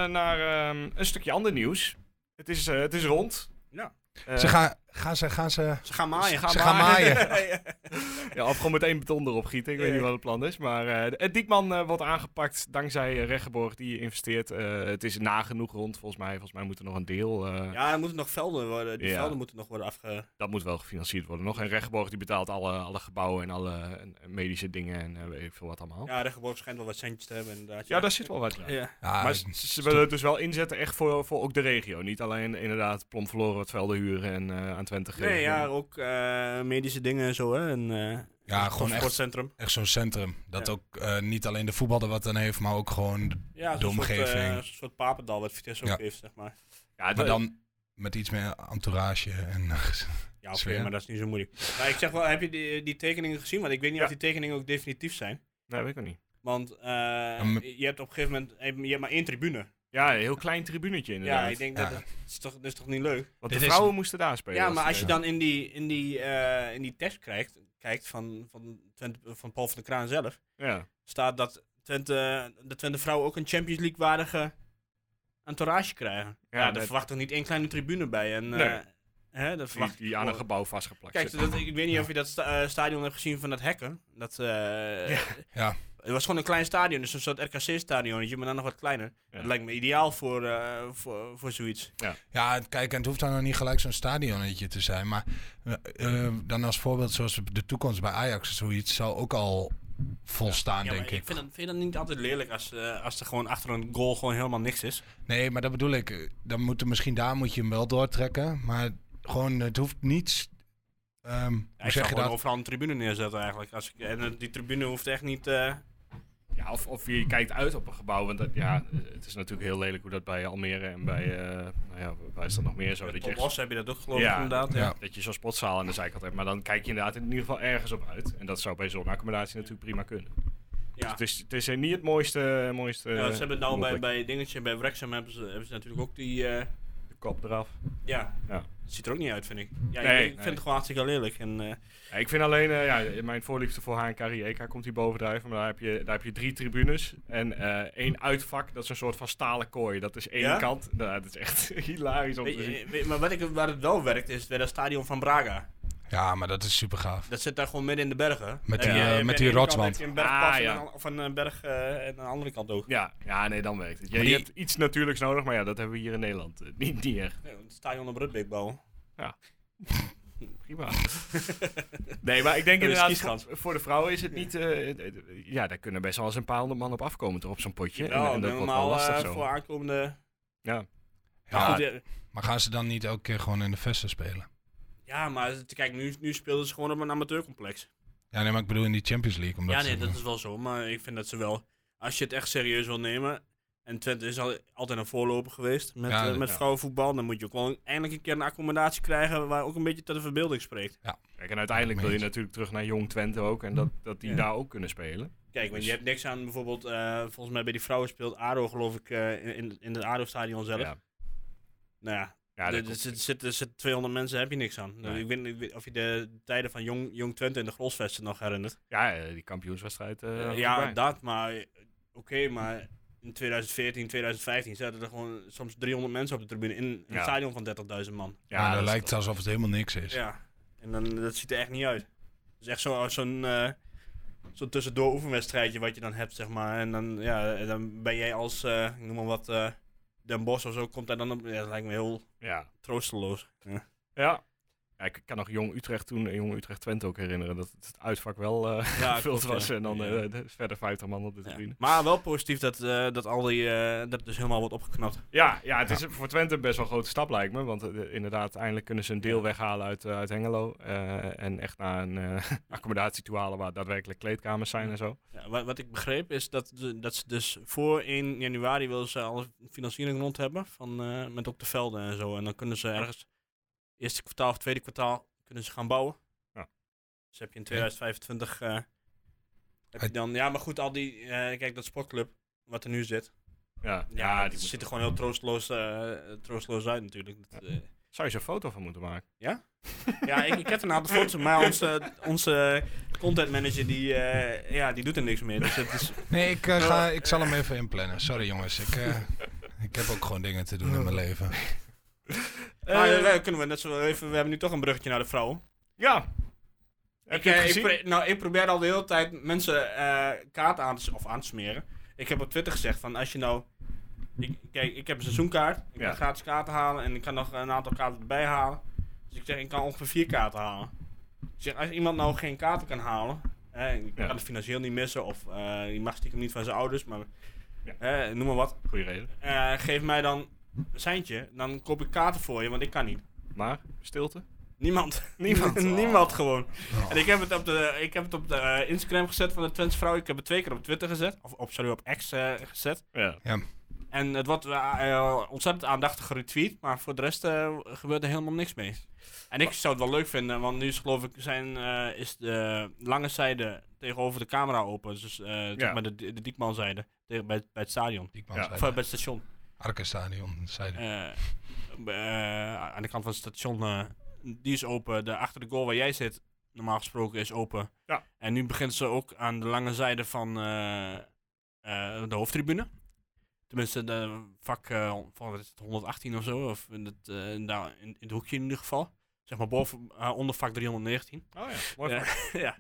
S1: naar ehm, een stukje ander nieuws. Het is, eh, het is rond.
S4: Ja.
S1: Eh,
S2: ze gaan, gaan ze, gaan ze...
S4: Ze gaan maaien.
S1: Ze gaan
S2: Ze gaan maaien.
S1: ja, of gewoon meteen beton erop gieten. Ik weet
S4: Ja.
S1: niet wat het plan is. Maar eh, het Diekman eh, wordt aangepakt dankzij eh, Regenborg die investeert. Eh, het is nagenoeg rond, volgens mij. Volgens mij moet er nog een deel. eh,
S4: Ja, er moeten nog velden worden. Die
S1: Ja.
S4: velden moeten nog worden afge...
S1: Dat moet wel gefinancierd worden nog. En Regenborg die betaalt alle, alle gebouwen en alle eh, medische dingen en eh, weet ik veel wat allemaal. Ja,
S4: Ja, Regenborg schijnt wel wat centjes te hebben inderdaad.
S1: daar zit wel wat in.
S4: Ja.
S2: Ja,
S1: Maar ze, ze willen het dus wel inzetten echt voor, voor ook de regio. Niet alleen inderdaad plom verloren wat velden huren en eh, aan Twente geven.
S4: Nee, ja, ook eh, medische dingen en zo, hè. En, eh,
S2: ja,
S4: een
S2: gewoon echt
S4: sportcentrum.
S2: Echt zo'n centrum. Dat
S4: Ja.
S2: ook eh, niet alleen de voetballer wat dan heeft, maar ook gewoon.
S4: Ja,
S2: de
S4: zo'n soort,
S2: omgeving.
S4: eh, zo'n soort papendal wat Vitesse
S2: Ja.
S4: ook heeft, zeg maar.
S1: Ja,
S2: Maar
S1: dat-
S2: dan met iets meer entourage. En,
S4: Ja, oké,
S2: Sfeer.
S4: maar dat is niet zo moeilijk. Maar ik zeg wel, heb je die, die tekeningen gezien? Want ik weet niet
S1: Ja.
S4: of die tekeningen ook definitief zijn.
S1: Nee, weet ik ook niet.
S4: Want eh,
S2: maar-
S4: je hebt op een gegeven moment je hebt maar één tribune.
S1: Ja, een heel klein tribunetje inderdaad.
S4: Ja, ik denk
S2: Ja.
S4: dat, dat, is toch, dat is toch niet leuk?
S1: Want de
S2: Dit is-
S1: vrouwen moesten daar spelen.
S4: Ja,
S1: was
S4: maar
S1: het,
S4: als je
S1: eh.
S4: dan in die, in die, eh, in die test krijgt, kijkt van, van, Twente, van Paul van der Kraan zelf,
S1: Ja.
S4: staat dat Twente, de Twente vrouwen ook een Champions League waardige entourage krijgen.
S1: Ja,
S4: Ja, daar
S1: dat-
S4: verwacht toch niet één kleine tribune bij. En,
S1: Nee.
S4: eh, hè, dat
S1: Die,
S4: verwacht
S1: die aan een gebouw vastgeplakt
S4: Kijk,
S1: zit.
S4: dat, ik weet niet of je dat sta- eh, stadion hebt gezien van dat hekken. Dat, eh,
S2: Ja.
S4: Het was gewoon een klein stadion, dus een soort RKC-stadionnetje, maar dan nog wat kleiner.
S1: Ja.
S4: Dat lijkt me ideaal voor, eh, voor, voor zoiets.
S2: ja, kijk, en het hoeft dan nog niet gelijk zo'n stadionnetje te zijn. Maar eh, eh, dan als voorbeeld, zoals de toekomst bij Ajax of zoiets, zal ook al volstaan,
S4: Ja, maar
S2: denk ik.
S4: ik vind dat, vind dat niet altijd lelijk als, eh, als er gewoon achter een goal gewoon helemaal niks is.
S2: Nee, maar dat bedoel ik. eh, Dan moet er, misschien daar moet je hem wel doortrekken. Maar gewoon, het hoeft niets. ehm,
S4: Ja,
S2: hoe
S4: ik zou
S2: zeg je
S4: gewoon
S2: dat?
S4: overal een tribune neerzetten eigenlijk. Als ik, en eh, die tribune hoeft echt niet... eh,
S1: Ja, of, of je kijkt uit op een gebouw. Want dat, ja, eh, het is natuurlijk heel lelijk hoe dat bij Almere en bij... eh, nou ja, waar is dat nog meer zo?
S4: Op
S1: Dat je, echt-
S4: Bos heb je dat ook geloof ik
S1: Ja.
S4: inderdaad. Ja.
S2: Ja.
S1: dat je zo'n sportzaal aan de zijkant hebt. Maar dan kijk je inderdaad in ieder geval ergens op uit. En dat zou bij zo'n accommodatie natuurlijk prima kunnen.
S4: Ja.
S1: Het is, eh, het is eh, niet het mooiste... mooiste
S4: Ja, ze hebben nou bij,
S1: mogelijk.
S4: bij dingetje, bij Wrexham hebben ze, hebben ze natuurlijk ook die... eh,
S1: De kop eraf.
S4: ja,
S1: Ja.
S4: dat ziet er ook niet uit vind ik. Ja, ik-
S1: Nee,
S4: ik vind
S1: nee.
S4: het gewoon hartstikke lelijk. En, eh,
S1: Ja, ik vind alleen, eh, ja, mijn voorliefde voor HNK Rijeka komt hier bovendrijven. Maar daar heb, je, daar heb je drie tribunes en eh één uitvak. Dat is een soort van stalen kooi. Dat is één
S4: Ja? eh,
S1: kant. Nou, dat is echt hilarisch om
S4: Weet
S1: te
S4: je-
S1: zien.
S4: weet- maar wat ik, waar het wel werkt is bij dat stadion van Braga.
S2: Ja, maar dat is super gaaf.
S4: Dat zit daar gewoon midden in de bergen.
S2: Met
S4: En
S2: die,
S4: je-
S2: eh,
S4: je-
S2: met
S4: aan
S2: die
S4: de ene kant
S2: rotswand.
S4: heb je een bergpas
S1: Ah,
S4: en
S1: ja.
S4: aan- of een eh, berg eh, en aan de andere kant ook.
S1: Ja, ja, nee, dan werkt het. Je,
S2: Maar
S1: je
S2: die-
S1: hebt iets natuurlijks nodig, maar ja, dat hebben we hier in Nederland eh, niet, niet echt.
S4: Nee, het stadion op Rutbeek bouwen.
S1: Prima. nee, maar ik denk
S4: Dat is
S1: inderdaad,
S4: kieskans.
S1: voor, voor de vrouwen is het niet... eh, eh, eh, ja, daar kunnen best wel
S4: nou, eh,
S1: eens een paar honderd man op afkomen, toch, op zo'n potje. en, en dat wordt wel
S4: normaal
S1: lastig
S4: eh,
S1: zo.
S4: voor aankomende...
S1: Ja.
S4: Maar goed,
S2: Ja,
S4: eh,
S2: maar gaan ze dan niet elke keer gewoon in de Vesten spelen?
S4: ja, maar kijk, nu, nu speelden ze gewoon op een amateurcomplex.
S2: Ja, nee, maar ik bedoel in die Champions League. Omdat
S4: ja,
S2: ze-
S4: nee, dat is wel zo. Maar ik vind dat ze wel, als je het echt serieus wil nemen. En Twente is al, altijd een voorloper geweest met,
S2: Ja,
S4: eh,
S2: dat-
S4: met
S1: ja.
S4: vrouwenvoetbal. Dan moet je ook wel eindelijk een keer een accommodatie krijgen waar ook een beetje tot de verbeelding spreekt.
S1: Kijk, en uiteindelijk wil je
S2: Meens.
S1: natuurlijk terug naar Jong Twente ook. En dat, dat die
S4: Ja.
S1: daar ook kunnen spelen.
S4: Kijk, want
S1: Dus-
S4: je hebt niks aan bijvoorbeeld, eh, volgens mij bij die vrouwen speelt ADO geloof ik eh, in- in, in het ADO-stadion zelf.
S1: Ja,
S4: Nou ja,
S1: ja
S4: er
S1: dat
S4: er
S1: komt-
S4: zitten zit, er zitten 200 mensen, heb je niks aan.
S1: Nee.
S4: Ik, weet, niet- ik weet of je de tijden van Jong, Jong Twente en de Grosvesten nog herinnert.
S1: ja eh, die kampioenswedstrijd. eh,
S4: Eh, ja,
S1: voorbij.
S4: dat, maar eh, oké, maar in 2014, 2015 zaten er gewoon soms 300 mensen op de tribune in een
S1: Ja.
S4: stadion van 30.000 man.
S2: Ja, dan
S1: dat is-
S2: lijkt het alsof het helemaal niks is.
S4: Ja, en dan, dat ziet er echt niet uit. Het is echt zo- zo'n eh zo'n tussendoor oefenwedstrijdje wat je dan hebt, zeg maar. En dan, ja, en dan ben jij als, eh, ik noem maar wat, eh, Den Bosch of zo, komt daar dan op. Ja, dat lijkt me heel
S1: Ja.
S4: troosteloos. Ja.
S1: Ja. Ja, ik kan nog Jong Utrecht toen en Jong Utrecht Twente ook herinneren. Dat het uitvak wel eh gevuld
S4: klopt,
S1: was.
S4: ja.
S1: En dan eh,
S4: Ja.
S1: de- verder 50 man op de
S4: Ja.
S1: tribune.
S4: Maar wel positief dat, eh, dat al die, eh, dat dus helemaal wordt opgeknapt.
S1: Ja, ja het is voor Twente best wel een grote stap lijkt me. Want eh, inderdaad, eindelijk kunnen ze een deel weghalen uit, eh, uit Hengelo. eh, en echt naar een eh, accommodatie toe halen waar daadwerkelijk kleedkamers zijn en zo.
S4: Ja, wat, wat ik begreep is dat, ze- dat ze dus voor 1 januari willen ze al een financiering rond hebben. Van, eh, met ook de velden en zo. En dan kunnen ze ergens eerste kwartaal of tweede kwartaal kunnen ze gaan bouwen.
S1: Ja.
S4: Dus heb je in 2025 eh, heb je
S2: Uit-
S4: dan... Ja, maar goed, al die... eh, kijk, dat sportclub wat er nu zit.
S1: Ja,
S4: Ja,
S1: ja,
S4: die
S1: die
S4: ziet er gewoon heel troosteloos, eh, troosteloos uit natuurlijk. Dat, eh,
S1: zou je zo'n foto van moeten maken.
S4: ja, ik, ik heb een aantal foto's, maar onze, onze content manager die, eh, ja, die doet er niks meer. Dus het is...
S2: Nee, ik, eh, ga, ik zal hem even inplannen. Sorry jongens, ik, eh, ik heb ook gewoon dingen te doen in mijn leven.
S4: Maar ja, ja, kunnen we net zo wel even. We hebben nu toch een bruggetje naar de vrouwen.
S1: Ja. Heb je het
S4: eh,
S1: gezien?
S4: pro- nou, ik probeer al de hele tijd mensen eh kaart aan te, s- of aan te smeren. Ik heb op Twitter gezegd van als je nou. Ik, kijk, ik heb een seizoenkaart. Ik
S1: Ja.
S4: kan gratis kaarten halen en ik kan nog een aantal kaarten erbij halen. Dus ik zeg, ik kan ongeveer vier kaarten halen. Ik zeg, als iemand nou geen kaarten kan halen. Hè, ik
S1: Ja.
S4: kan het financieel niet missen of eh die mag stiekem niet van zijn ouders, maar
S1: Ja.
S4: hè, noem maar wat.
S1: Goeie reden.
S4: Eh, geef mij dan een seintje, dan koop ik kaarten voor je, want ik kan niet.
S1: Maar, stilte?
S4: Niemand.
S1: Niemand.
S4: Niemand gewoon. En ik heb het op de, ik heb het op de eh, Instagram gezet van de Twents vrouw. Ik heb het twee keer op Twitter gezet. Of op, sorry, op X eh, gezet.
S1: Ja.
S4: En het wordt eh, eh, ontzettend aandachtig retweet. Maar voor de rest eh, gebeurt er helemaal niks mee. En ik zou het wel leuk vinden, want nu is geloof ik zijn, eh, is de lange zijde tegenover de camera open. Dus eh, zeg maar de, de Diekmanzijde tegen, bij, bij het stadion.
S2: Diekman
S1: Ja,
S2: zei
S4: Of eh,
S2: dat.
S4: bij het station.
S2: Arkenstadion, zei hij.
S4: Eh, eh, aan de kant van het station, eh, die is open. De, achter de goal waar jij zit, normaal gesproken, is open.
S1: Ja.
S4: En nu begint ze ook aan de lange zijde van eh, eh, de hoofdtribune. Tenminste, de vak eh, van wat is het, 118 of zo, of in het, eh, daar in, in het hoekje in ieder geval. Zeg maar boven, eh, onder vak 319.
S1: Oh ja, mooi.
S4: Ja. ja.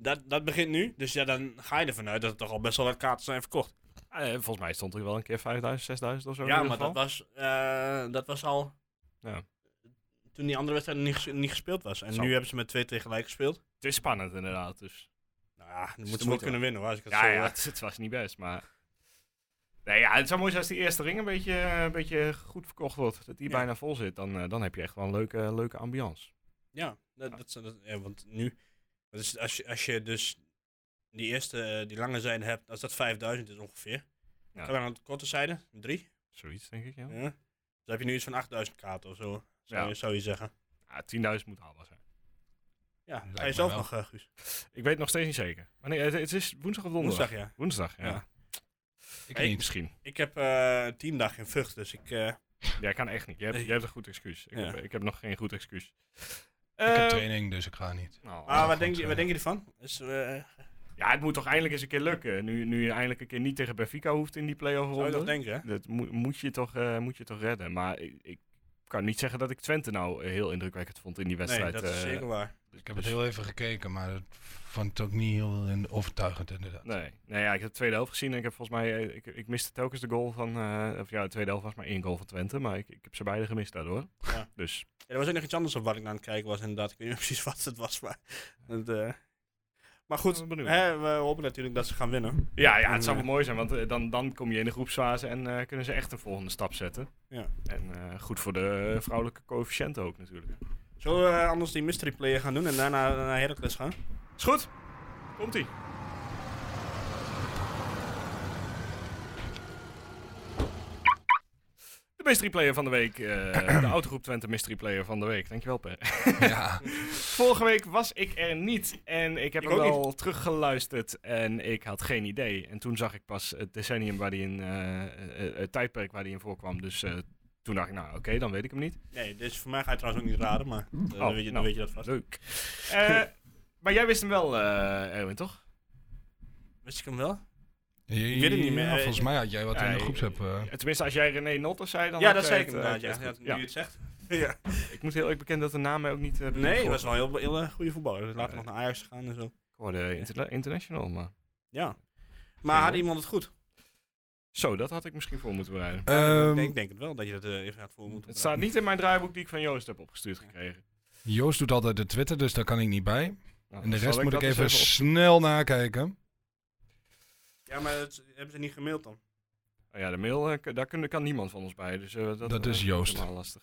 S4: Dat, dat begint nu, dus ja, dan ga je ervan uit dat er toch al best wel wat kaarten zijn verkocht.
S1: Eh, volgens mij stond er wel een keer 5000, 6000 of zo. in
S4: Ja,
S1: ieder
S4: maar
S1: geval.
S4: dat was, eh, dat was al
S1: Ja.
S4: toen die andere wedstrijd niet, ges- niet gespeeld was. En
S1: Zo.
S4: nu hebben ze met twee tegelijk gespeeld.
S1: Het is spannend inderdaad, dus...
S4: Nou ja, dan
S1: de
S4: moeten ze wel
S1: moeite
S4: kunnen winnen hoor, als ik het
S1: Ja,
S4: zo eh,
S1: ja
S4: hoor.
S1: het, het was niet best, maar... Nee, ja, het zou mooi zijn als die eerste ring een beetje, eh, een beetje goed verkocht wordt. Dat die
S4: Ja.
S1: bijna vol zit. Dan, eh, dan heb je echt wel een leuke, leuke ambiance.
S4: Ja, dat, dat, dat, ja, want nu, dat is, als, je, als je dus die eerste, eh, die lange zijde hebt, als dat 5000 is ongeveer.
S1: Ja.
S4: Ja. Kan aan de korte zijde, drie.
S1: Zoiets, denk ik, ja.
S4: Ja. Dus heb je nu iets van 8000 kaarten of zo, zou,
S1: Ja.
S4: je, zou je zeggen.
S1: Ja, 10.000 moet haalbaar zijn.
S4: Ja, ga
S2: me
S4: je zelf
S2: wel.
S4: nog, eh, Guus?
S1: Ik weet nog steeds niet zeker. Maar nee, het, het is woensdag of donderdag?
S4: Woensdag, ja.
S1: Woensdag, ja.
S4: Ja.
S2: Ik
S4: Hey.
S2: niet.
S1: Misschien.
S4: Ik heb eh, een teamdag in Vught, dus ik... eh,
S1: Jij kan echt niet. Je hebt,
S4: Nee.
S1: je hebt een goed excuus. Ik,
S4: Ja.
S1: heb, ik heb nog geen goed excuus.
S2: Ik
S1: Eh,
S2: heb training, dus ik ga niet.
S1: nou,
S4: maar wat,
S2: goed,
S4: denk je,
S2: eh.
S4: wat denk je ervan? Is, eh
S1: ja, het moet toch eindelijk eens een keer lukken. Nu, nu je eindelijk een keer niet tegen Benfica hoeft in die play-off
S4: zou je
S1: ronde.
S4: nog denken, hè?
S1: Dat moet, moet, je toch, eh, moet je toch redden. Maar ik, ik kan niet zeggen dat ik Twente nou eh, heel indrukwekkend vond in die
S4: Nee,
S1: wedstrijd.
S4: dat is
S1: eh,
S4: zeker waar.
S2: Ik heb het heel even gekeken, maar het vond het ook niet heel in- overtuigend inderdaad.
S1: Nee, nee ja, ik heb de tweede helft gezien en ik heb volgens mij, eh, ik, ik miste telkens de goal van, eh, of ja, de tweede helft was maar één goal van Twente, maar ik, ik heb ze beide gemist daardoor.
S4: Ja.
S1: Dus,
S4: Ja, er was ook nog iets anders op wat ik naar aan het kijken was, inderdaad. Ik weet niet precies wat het was, maar... Het, eh, Maar goed,
S1: Ik ben benieuwd.
S4: hè, we hopen natuurlijk dat ze gaan winnen.
S1: Ja, ja,
S4: En,
S1: het zou
S4: eh,
S1: wel mooi zijn, want eh, dan, dan kom je in de groepsfase en eh, kunnen ze echt een volgende stap zetten.
S4: Ja.
S1: En eh, goed voor de eh, vrouwelijke coëfficiënten ook natuurlijk.
S4: Zullen we eh, anders die mystery player gaan doen en daarna naar Heracles gaan?
S1: Is goed, komt-ie. De mystery player van de week, eh, de autogroep Twente mystery player van de week. Dankjewel Per.
S2: ja.
S1: Vorige week was ik er niet en ik heb
S4: Ik
S1: hem
S4: ook
S1: wel teruggeluisterd en ik had geen idee. En toen zag ik pas het decennium waar die in, eh, eh, eh, het tijdperk waar die in voorkwam. Dus eh, toen dacht ik, nou oké, dan weet ik hem niet.
S4: Nee, dus voor mij ga je trouwens ook niet raden, maar eh, dan, weet je, dan
S1: nou.
S4: weet je dat vast.
S1: Leuk. Eh, maar jij wist hem wel, eh, Erwin, toch?
S4: Wist ik hem wel?
S2: Je-
S4: Ik weet het niet meer.
S2: ja, volgens mij had jij wat
S1: Ja,
S2: in de
S1: ik-
S2: groeps hebt. eh.
S1: Eh, Tenminste, als jij René Notter zei, dan
S4: Ja,
S1: had
S4: dat
S1: jij
S4: zei ik
S1: het,
S4: inderdaad.
S1: eh,
S4: Ja,
S1: had jij het goed.
S4: Ja, nu je het zegt. Ja.
S1: Ja, ik moet heel eerlijk bekennen dat de naam mij ook niet... eh, bekend
S4: Nee,
S1: voorkwam.
S4: was wel een heel, heel eh, goede voetballer. Later nog naar Ajax gegaan en zo.
S1: Ik hoorde Oh, interna- international, maar...
S4: Ja. Maar had iemand het goed?
S1: Zo, dat had ik misschien voor moeten bereiden.
S4: ik
S2: Ehm,
S4: denk, denk het wel dat je dat eh, even gaat voor moeten
S1: Het staat niet in mijn draaiboek die ik van Joost heb opgestuurd gekregen.
S2: Joost doet altijd de Twitter, dus daar kan ik niet bij.
S1: Nou,
S2: En de
S1: zal
S2: rest moet ik
S1: dat eens
S2: even,
S1: op-
S2: snel nakijken.
S4: Ja, maar het, hebben ze niet gemaild dan?
S1: Oh ja, de mail, eh, k- daar kun, kan niemand van ons bij. Dus, eh, dat,
S2: Dat is
S1: eh,
S2: Joost.
S1: helemaal lastig.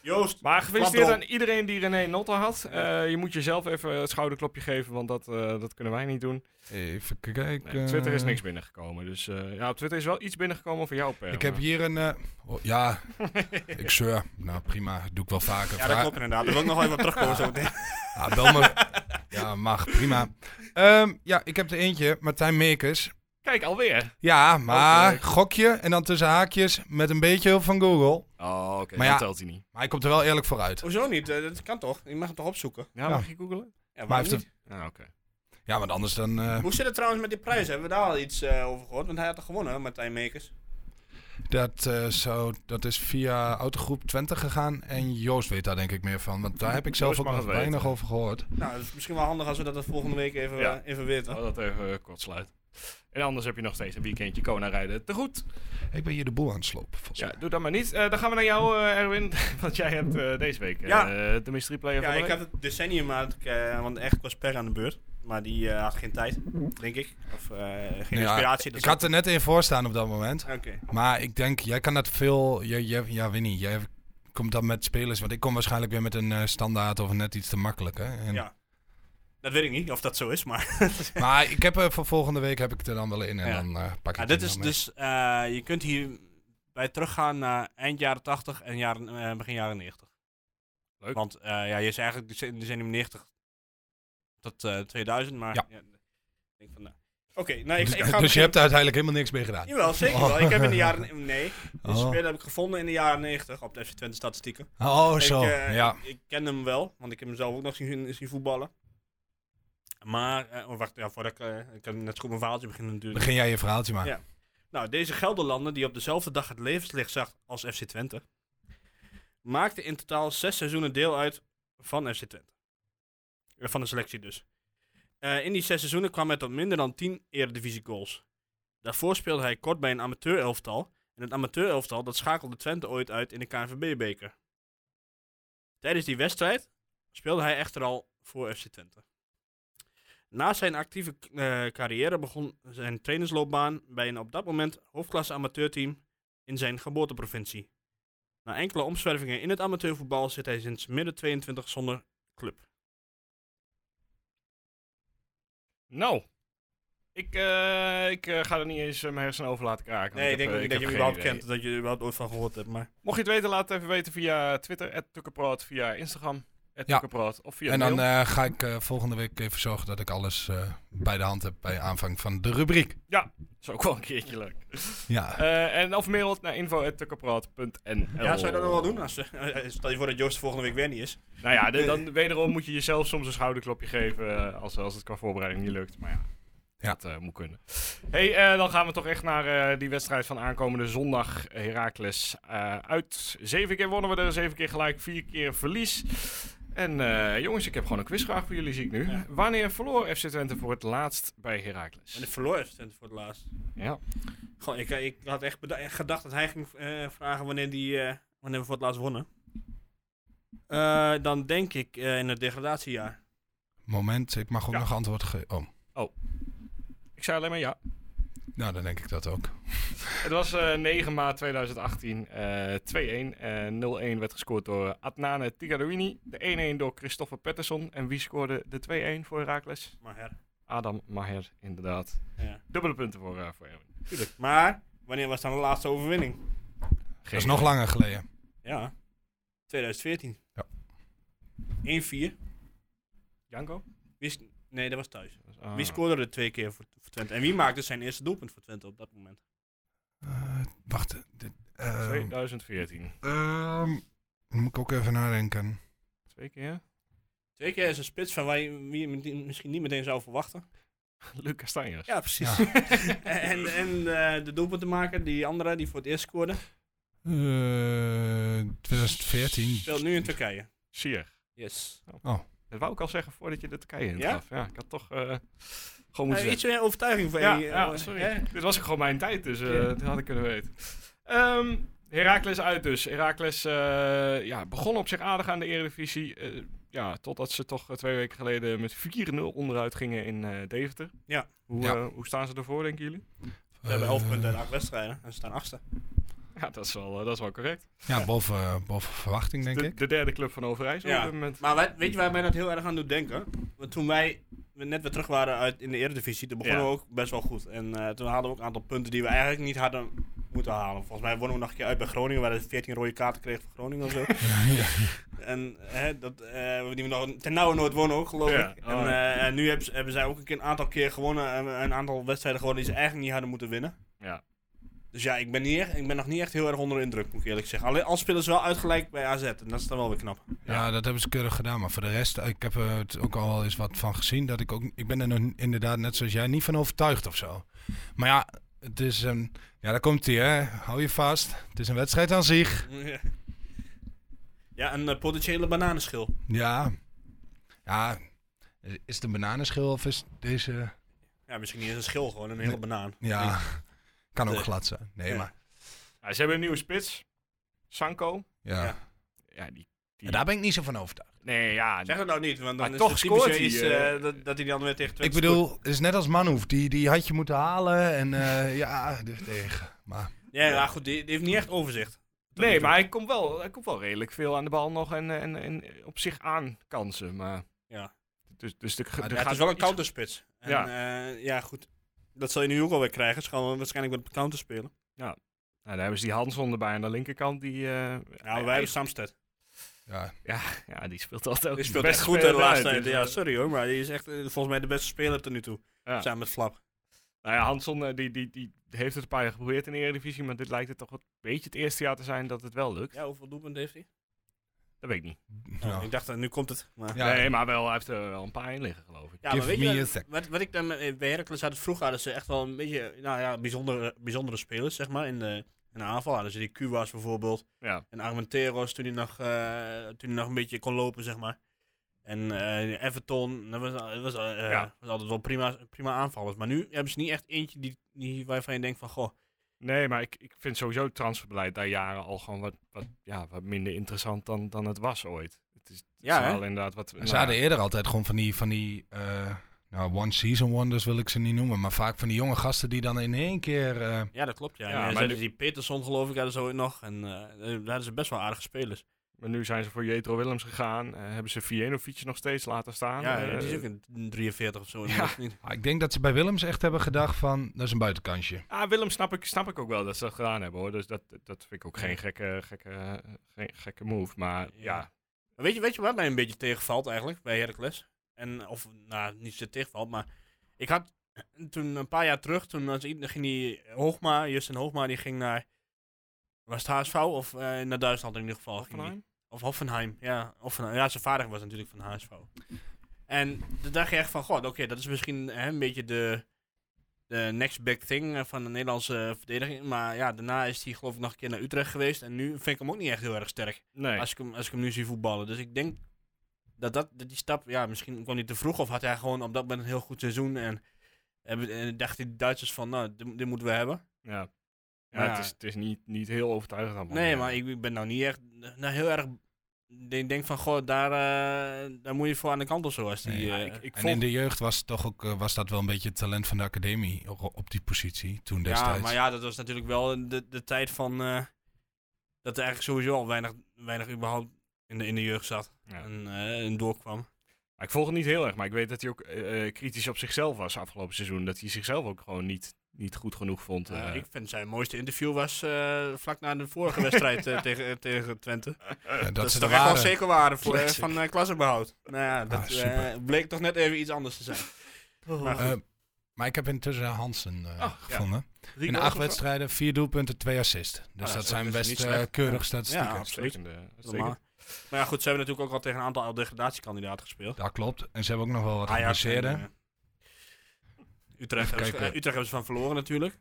S4: Joost!
S1: Maar gefeliciteerd
S4: Klap
S1: aan iedereen die René Notter had. Eh, je moet jezelf even het schouderklopje geven, want dat, eh, dat kunnen wij niet doen.
S2: Even
S1: Nee,
S2: kijken.
S1: op Twitter
S2: eh,
S1: is niks binnengekomen. Dus eh, ja, op Twitter is wel iets binnengekomen voor jou, Per.
S2: Ik heb
S1: maar-
S2: hier een... eh, oh, ja, ik zeur. Nou prima, doe ik wel vaker.
S4: Ja, dat
S2: Vra-
S4: klopt inderdaad. Daar wil ik nog wel even op terugkomen zo meteen.
S2: Ja, bel me. ja, mag, prima. Ehm, ja, ik heb er eentje, Martijn Meekers.
S1: Kijk, alweer.
S2: Ja, maar
S1: Oké.
S2: gokje en dan tussen haakjes met een beetje hulp van Google.
S1: Oh, oké.
S2: Maar
S1: dat
S2: ja-
S1: telt hij niet.
S2: Maar hij komt er wel eerlijk vooruit.
S4: Hoezo niet? Eh, dat kan toch? Je mag het toch opzoeken?
S1: Ja, mag je googelen?
S4: Ja,
S2: Maar
S4: waarom
S2: hij heeft
S4: niet?
S2: een-
S1: Ah, oké.
S2: ja, want anders dan... eh,
S4: Hoe zit het trouwens met die prijs? Hebben we daar al iets eh, over gehoord? Want hij had er gewonnen, Martijn Meekers.
S2: dat, eh, zou, dat is via Autogroep 20 gegaan. En Joost weet daar denk ik meer van. Want daar heb ik zelf
S1: Joost
S2: ook
S1: mag
S2: nog
S1: het weten.
S2: weinig over gehoord.
S4: Nou, het is misschien wel handig als we dat de volgende week even,
S1: Ja.
S4: eh, even weten.
S1: Laat dat even eh, kort sluiten. En anders heb je nog steeds een weekendje Kona rijden. Te goed.
S2: Ik ben hier de boel aan het slopen, volgens
S1: Ja,
S2: mij.
S1: doe dat maar niet. Eh, dan gaan we naar jou, eh, Erwin. Want jij hebt eh, deze week eh,
S4: Ja.
S1: de mystery player
S4: Ja,
S1: van de
S4: ik
S1: week.
S4: had het decennium, maar ik, eh, want echt was Per aan de beurt. Maar die eh, had geen tijd, denk ik. Of eh, geen
S2: Ja,
S4: inspiratie.
S1: dus
S4: dat
S2: ik
S4: is-
S2: had er net één voor staan op dat moment.
S4: Oké.
S2: Maar ik denk, jij kan dat veel... Jij, jij, ja, Winnie, jij komt dan met spelers. Want ik kom waarschijnlijk weer met een eh, standaard of net iets te makkelijk. Hè? En-
S4: Ja. Dat weet ik niet of dat zo is, maar.
S2: Maar ik heb er voor volgende week heb ik het er dan wel in. En
S4: Ja.
S2: dan eh, pak ik
S4: Ja,
S2: het
S4: dit
S2: er
S4: is
S2: dan mee.
S4: dus, eh, je kunt hier bij teruggaan naar eind jaren 80 en jaren, eh, begin jaren 90.
S1: Leuk.
S4: Want eh, ja, je is eigenlijk dec- in decennium 90 tot eh, 2000, maar.
S2: Ja.
S4: ja, ik denk van, nou. Oké, nou ik,
S2: Dus,
S4: ik ga.
S2: dus je hebt daar uiteindelijk helemaal niks mee gedaan.
S4: Jawel, zeker wel. Ik heb in de jaren. Nee, deze
S2: Oh.
S4: speler heb ik gevonden in de jaren 90 op de FC Twente statistieken.
S2: Oh, zo.
S4: Ik, eh,
S2: ja.
S4: ik, ik ken hem wel, want ik heb hem zelf ook nog zien, zien voetballen. Maar, eh, oh, wacht, ja, voordat ik, eh, ik kan net zo goed mijn verhaaltje beginnen natuurlijk.
S2: Begin jij je verhaaltje maar.
S4: Ja. Nou, deze Gelderlander, die op dezelfde dag het levenslicht zag als FC Twente, maakte in totaal zes seizoenen deel uit van FC Twente. Eh, Van de selectie dus. Eh, in die zes seizoenen kwam hij tot minder dan tien eredivisie goals. Daarvoor speelde hij kort bij een amateurelftal. En het amateurelftal dat schakelde Twente ooit uit in de KNVB-beker. Tijdens die wedstrijd speelde hij echter al voor FC Twente. Na zijn actieve eh, carrière begon zijn trainersloopbaan bij een op dat moment hoofdklasse amateurteam in zijn geboorteprovincie. Na enkele omzwervingen in het amateurvoetbal zit hij sinds midden 22 zonder club.
S1: Nou, ik, eh, ik eh, ga er niet eens eh, mijn hersenen over laten kraken. want heb, eh, heb geen idee.
S4: dat je er überhaupt ooit van gehoord hebt. Maar...
S1: Mocht je het weten, laat het even weten via Twitter, @tukkenpraat, via Instagram, @tukkenpraat of via
S2: en
S1: mail.
S2: dan eh, ga ik eh, volgende week even zorgen dat ik alles eh, bij de hand heb bij aanvang van de rubriek.
S1: Dat is ook wel een keertje leuk.
S2: Ja.
S1: Eh, en of mail het naar info.tukkenpraat.nl.
S4: Ja, zou je dat nog wel
S1: Oh.
S4: doen? Als, eh, stel je voor dat Joost volgende week weer niet is.
S1: Nou ja, de- dan wederom moet je jezelf soms een schouderklopje geven eh, als, als het qua voorbereiding niet lukt. Maar ja,
S2: Ja.
S1: dat eh, moet kunnen. hey, eh, dan gaan we toch echt naar eh, die wedstrijd van aankomende zondag. Heracles eh, uit. Zeven keer wonnen we er, zeven keer gelijk, vier keer verlies. En eh, jongens, ik heb gewoon een quizvraag voor jullie, zie ik nu.
S4: Ja.
S1: Wanneer verloor FC Twente voor het laatst bij Heracles?
S4: En ik verloor FC Twente voor het laatst.
S1: Ja.
S4: Goh, ik, eh, ik had echt beda- echt gedacht dat hij ging eh, vragen wanneer, die, eh, wanneer we voor het laatst wonnen. Eh, dan denk ik eh, in het degradatiejaar.
S2: Moment, ik mag ook
S1: Ja.
S2: nog antwoord geven. Oh.
S1: Ik zei alleen maar ja.
S2: Nou, dan denk ik dat ook.
S1: Het was eh 9 maart 2018, eh 2-1. Eh 0-1 werd gescoord door Adnane Tigarouini. De 1-1 door Christopher Pettersson. En wie scoorde de 2-1 voor Herakles?
S4: Maar, her,
S1: Adam Maher, inderdaad.
S4: ja,
S1: Dubbele punten voor, eh voor Erwin.
S4: tuurlijk. maar wanneer was dan de laatste overwinning?
S2: Dat is nog langer geleden.
S4: Ja, 2014.
S2: Ja.
S4: 1-4.
S1: Janko?
S4: Wie is- Nee, dat was thuis.
S1: Ah.
S4: Wie scoorde er twee keer voor, voor Twente? En wie maakte zijn eerste doelpunt voor Twente op dat moment?
S2: Eh, wacht. Dit,
S4: Ehm.
S2: eh,
S1: 2014.
S2: ehm, moet ik ook even nadenken.
S1: Twee keer.
S4: Twee keer is een spits van waar je, wie je meteen- misschien niet meteen zou verwachten.
S1: Lucas Castanjes.
S4: Ja, precies. en en eh, de doelpunt te maken, die andere die voor het eerst scoorde,
S2: Eh, 2014.
S4: speelt nu in Turkije.
S1: Sier.
S4: Yes.
S1: Dat wou ik al zeggen voordat je de Turkije in
S4: Ja?
S1: gaf. Ja, ik had toch eh, gewoon moeten
S4: Eh,
S1: zeggen.
S4: iets meer overtuiging voor
S1: Ja,
S4: je. eh,
S1: ja, sorry.
S4: hè?
S1: Dit was gewoon mijn tijd, dus eh, dat had ik kunnen weten. Ehm Herakles uit dus. Herakles eh, ja, begon op zich aardig aan de Eredivisie. eh, ja, totdat ze toch eh, twee weken geleden met 4-0 onderuit gingen in eh, Deventer.
S4: Ja.
S1: Hoe,
S2: Ja.
S1: eh, hoe staan ze ervoor, denken jullie?
S4: We hebben 11 punten en 8 wedstrijden en ze staan achtste.
S1: Ja, dat is wel, eh, dat is wel correct.
S2: Ja, boven, boven verwachting, denk
S1: De,
S2: ik.
S1: de derde club van Overijssel
S4: Ja.
S1: op dit moment.
S4: Maar wij- weet je waar mij dat heel erg aan doet denken? Want toen wij we net weer terug waren uit, in de Eredivisie, toen begonnen
S1: Ja.
S4: we ook best wel goed. En eh, toen hadden we ook een aantal punten die we eigenlijk niet hadden moeten halen. Volgens mij wonnen we nog een keer uit bij Groningen, waar we 14 rode kaarten kregen van Groningen of zo. En hè, dat, eh, die we nog ten nauwe nooit wonnen ook, geloof
S1: Ja,
S4: ik.
S1: oh.
S4: En, eh, en nu hebben, ze- hebben zij ook een, keer, een aantal keer gewonnen en een aantal wedstrijden gewonnen die ze eigenlijk niet hadden moeten winnen.
S1: Ja.
S4: Dus ja, ik ben, niet echt, ik ben nog niet echt heel erg onder de indruk, moet ik eerlijk zeggen. Alleen al spelen ze wel uitgelijk bij AZ en dat is dan wel weer knap.
S2: Ja, dat hebben ze keurig gedaan. Maar voor de rest, eh, ik heb er het ook al eens wat van gezien. Dat ik, ook, ik ben er nog inderdaad, net zoals jij, niet van overtuigd of zo. Maar ja, het is een... Ja, daar komt hij, hè. Hou je vast. Het is een wedstrijd aan zich.
S4: Ja, een eh, potentiële bananenschil.
S2: Ja. Ja. Is het een bananenschil of is deze...
S4: Ja, misschien niet eens een schil, gewoon een hele
S2: Nee.
S4: banaan.
S2: Ja, kan ook
S4: Nee.
S2: glad zijn. Nee,
S4: Ja.
S2: maar...
S1: Ja, ze hebben een nieuwe spits. Sanko.
S2: Ja.
S4: Ja.
S1: Ja, die,
S2: Maar daar ben ik niet zo van overtuigd.
S1: nee, ja.
S4: Zeg het nou niet, want dan
S1: Maar
S4: is
S1: toch
S4: het typisch
S1: scoort hij,
S4: iets
S1: eh,
S4: eh, dat, dat hij dan weer tegen
S2: Ik
S4: Twente
S2: bedoel, het is net als Manhoef. Die, die had je moeten halen en eh, ja, dus tegen. Maar
S4: scoort. Ja, ja, goed, die, die heeft niet echt overzicht. Tot nu
S1: Nee,
S4: toe.
S1: maar hij komt, wel, hij komt wel redelijk veel aan de bal nog en, eh, en, en op zich aan kansen. Maar
S4: Ja.
S1: Dus, dus de, de
S4: Ja, Nou, het is wel een counterspits. En,
S1: Ja.
S4: ja. ja, goed. Dat zal je nu ook alweer krijgen. Ze gaan waarschijnlijk wat op counter spelen.
S1: Nou, daar hebben ze die Hanson erbij aan de linkerkant. Die, eh,
S4: Ja, maar Nou, wij hebben Samsted.
S2: ja,
S1: ja, die speelt altijd ook
S4: Die
S1: de
S4: speelt
S1: beste
S4: echt goed hè, de
S1: speler
S4: laatste
S1: uit,
S4: tijd.
S1: dus-
S4: Ja, sorry hoor, maar die is echt eh, volgens mij de beste speler tot nu toe.
S1: Ja.
S4: Samen met Flap.
S1: Nou ja, Hanson eh, die, die, die heeft het een paar jaar geprobeerd in de Eredivisie. Maar dit lijkt het toch een beetje het eerste jaar te zijn dat het wel lukt.
S4: Ja, hoeveel doelpunten heeft hij?
S1: Dat weet ik niet.
S2: nou,
S4: Ik dacht, eh, nu komt het. Maar...
S2: ja,
S1: Nee, maar wel, hij heeft er wel een paar in liggen, geloof ik.
S4: Ja,
S2: Give
S4: maar weet
S2: me
S4: je
S2: a
S4: wat,
S2: sec.
S4: wat, wat ik dan met- eh, bij Heracles had het vroeger hadden ze echt wel een beetje nou ja, bijzondere, bijzondere spelers, zeg maar, in de, in de aanval. Hadden ze die Cuba's bijvoorbeeld
S1: Ja.
S4: en Armenteros toen hij nog, eh, toen hij nog een beetje kon lopen, zeg maar. En eh, Everton, dat was, dat was, eh,
S1: Ja.
S4: was altijd wel prima, prima aanvallers. Maar nu hebben ze niet echt eentje die, die, waarvan je denkt van, goh,
S1: Nee, maar ik, ik vind sowieso het transferbeleid daar jaren al gewoon wat, wat, ja, wat minder interessant dan, dan het was ooit. Het is, het
S4: Ja,
S1: is
S4: hè?
S1: wel inderdaad wat... nou
S2: Ze hadden eerder altijd gewoon van die, van die eh, nou, one season wonders wil ik ze niet noemen, maar vaak van die jonge gasten die dan in één keer... eh,
S4: ja, dat klopt. Ja,
S1: Ja,
S4: En, eh,
S1: maar
S4: ze hadden
S1: nu-
S4: die Peterson geloof ik hadden ze ooit nog. En eh, eh, daar hadden ze best wel aardige spelers.
S1: Maar nu zijn ze voor Jetro Willems gegaan. eh, hebben ze Vienovic nog steeds laten staan.
S4: ja,
S1: Eh,
S4: die is ook een 43 of zo.
S1: ja.
S4: dat is niet-
S2: ah, ik denk dat ze bij Willems echt hebben gedacht van, dat is een buitenkansje.
S1: ah, Willem snap ik, snap ik ook wel dat ze dat gedaan hebben hoor. Dus dat, dat vind ik ook geen gekke, gekke, eh, geen gekke move. Maar ja,
S4: Ja. Maar Weet je, weet je wat mij een beetje tegenvalt eigenlijk bij Heracles? En, of, nou, niet zo tegenvalt, maar ik had toen een paar jaar terug, toen was, i- ging die Hoogma, Justin Hoogma, die ging naar, was het HSV of eh, naar Duitsland in ieder geval? ging die.
S1: Hoffenheim?
S4: Of Hoffenheim, ja. Hoffenheim. Ja, zijn vader was natuurlijk van HSV. En toen dacht je echt van, god, oké, dat is misschien hè, een beetje de, de next big thing eh, van de Nederlandse verdediging. Maar ja, daarna is hij geloof ik nog een keer naar Utrecht geweest. En nu vind ik hem ook niet echt heel erg sterk.
S1: nee.
S4: Als ik, hem, als ik hem nu zie voetballen. Dus ik denk dat, dat, dat die stap, ja, misschien kwam hij te vroeg. Of had hij gewoon op dat moment een heel goed seizoen. En, hebben- en dachten de Duitsers van, nou, dit, dit moeten we hebben.
S1: ja. Ja,
S4: Maar ja.
S1: het is, het is niet, niet heel overtuigend allemaal.
S4: Nee, maar ik, ik ben nou niet echt nou, heel erg Ik denk van, goh, daar, eh, daar moet je voor aan de kant of zo. Als die,
S2: Nee,
S1: Ja,
S4: eh,
S1: ik, ik
S2: En in
S1: volg...
S2: de jeugd was, het toch ook, eh, was dat wel een beetje het talent van de academie o- op die positie toen destijds.
S4: ja, maar ja, dat was natuurlijk wel de, de tijd van eh, dat er eigenlijk sowieso al weinig, weinig überhaupt in de, in de jeugd zat
S1: Ja.
S4: en, eh, en doorkwam.
S1: Maar ik volg het niet heel erg, maar ik weet dat hij ook eh, eh, kritisch op zichzelf was afgelopen seizoen. Dat hij zichzelf ook gewoon niet, niet goed genoeg vond.
S4: Eh,
S1: eh.
S4: ik vind zijn mooiste interview was eh, vlak na de vorige wedstrijd eh, tegen, tegen Twente.
S2: Ja, dat,
S4: Dat,
S2: ze
S4: ze
S2: er
S4: toch echt wel
S2: waren.
S4: zeker waren voor, eh,
S2: Classic.
S4: van eh klassenbehoud. Nou ja, dat
S2: Ah, super.
S4: eh, bleek toch net even iets anders te zijn. Maar goed,
S2: Eh, maar ik heb intussen Hansen eh,
S1: Oh, ja.
S2: gevonden.
S4: drie
S2: In
S4: goals
S2: acht
S4: of-
S2: wedstrijden, vier doelpunten, twee assists. Dus
S4: Ah, dat
S2: dat
S4: is-
S2: zijn
S4: dat is niet
S2: best eh,
S4: slecht.
S2: keurig
S4: Ja.
S2: statistieken.
S4: Ja, absoluut.
S1: Uitstekend, eh, uitstekend.
S4: Normaal. Maar ja, goed, ze hebben natuurlijk ook al tegen een aantal degradatiekandidaten gespeeld.
S2: dat klopt. En ze hebben ook nog wel wat
S4: Ajax en,
S2: geblesseerden.
S4: eh, Utrecht, hebben ze,
S2: kijken.
S4: eh, Utrecht hebben ze van verloren natuurlijk.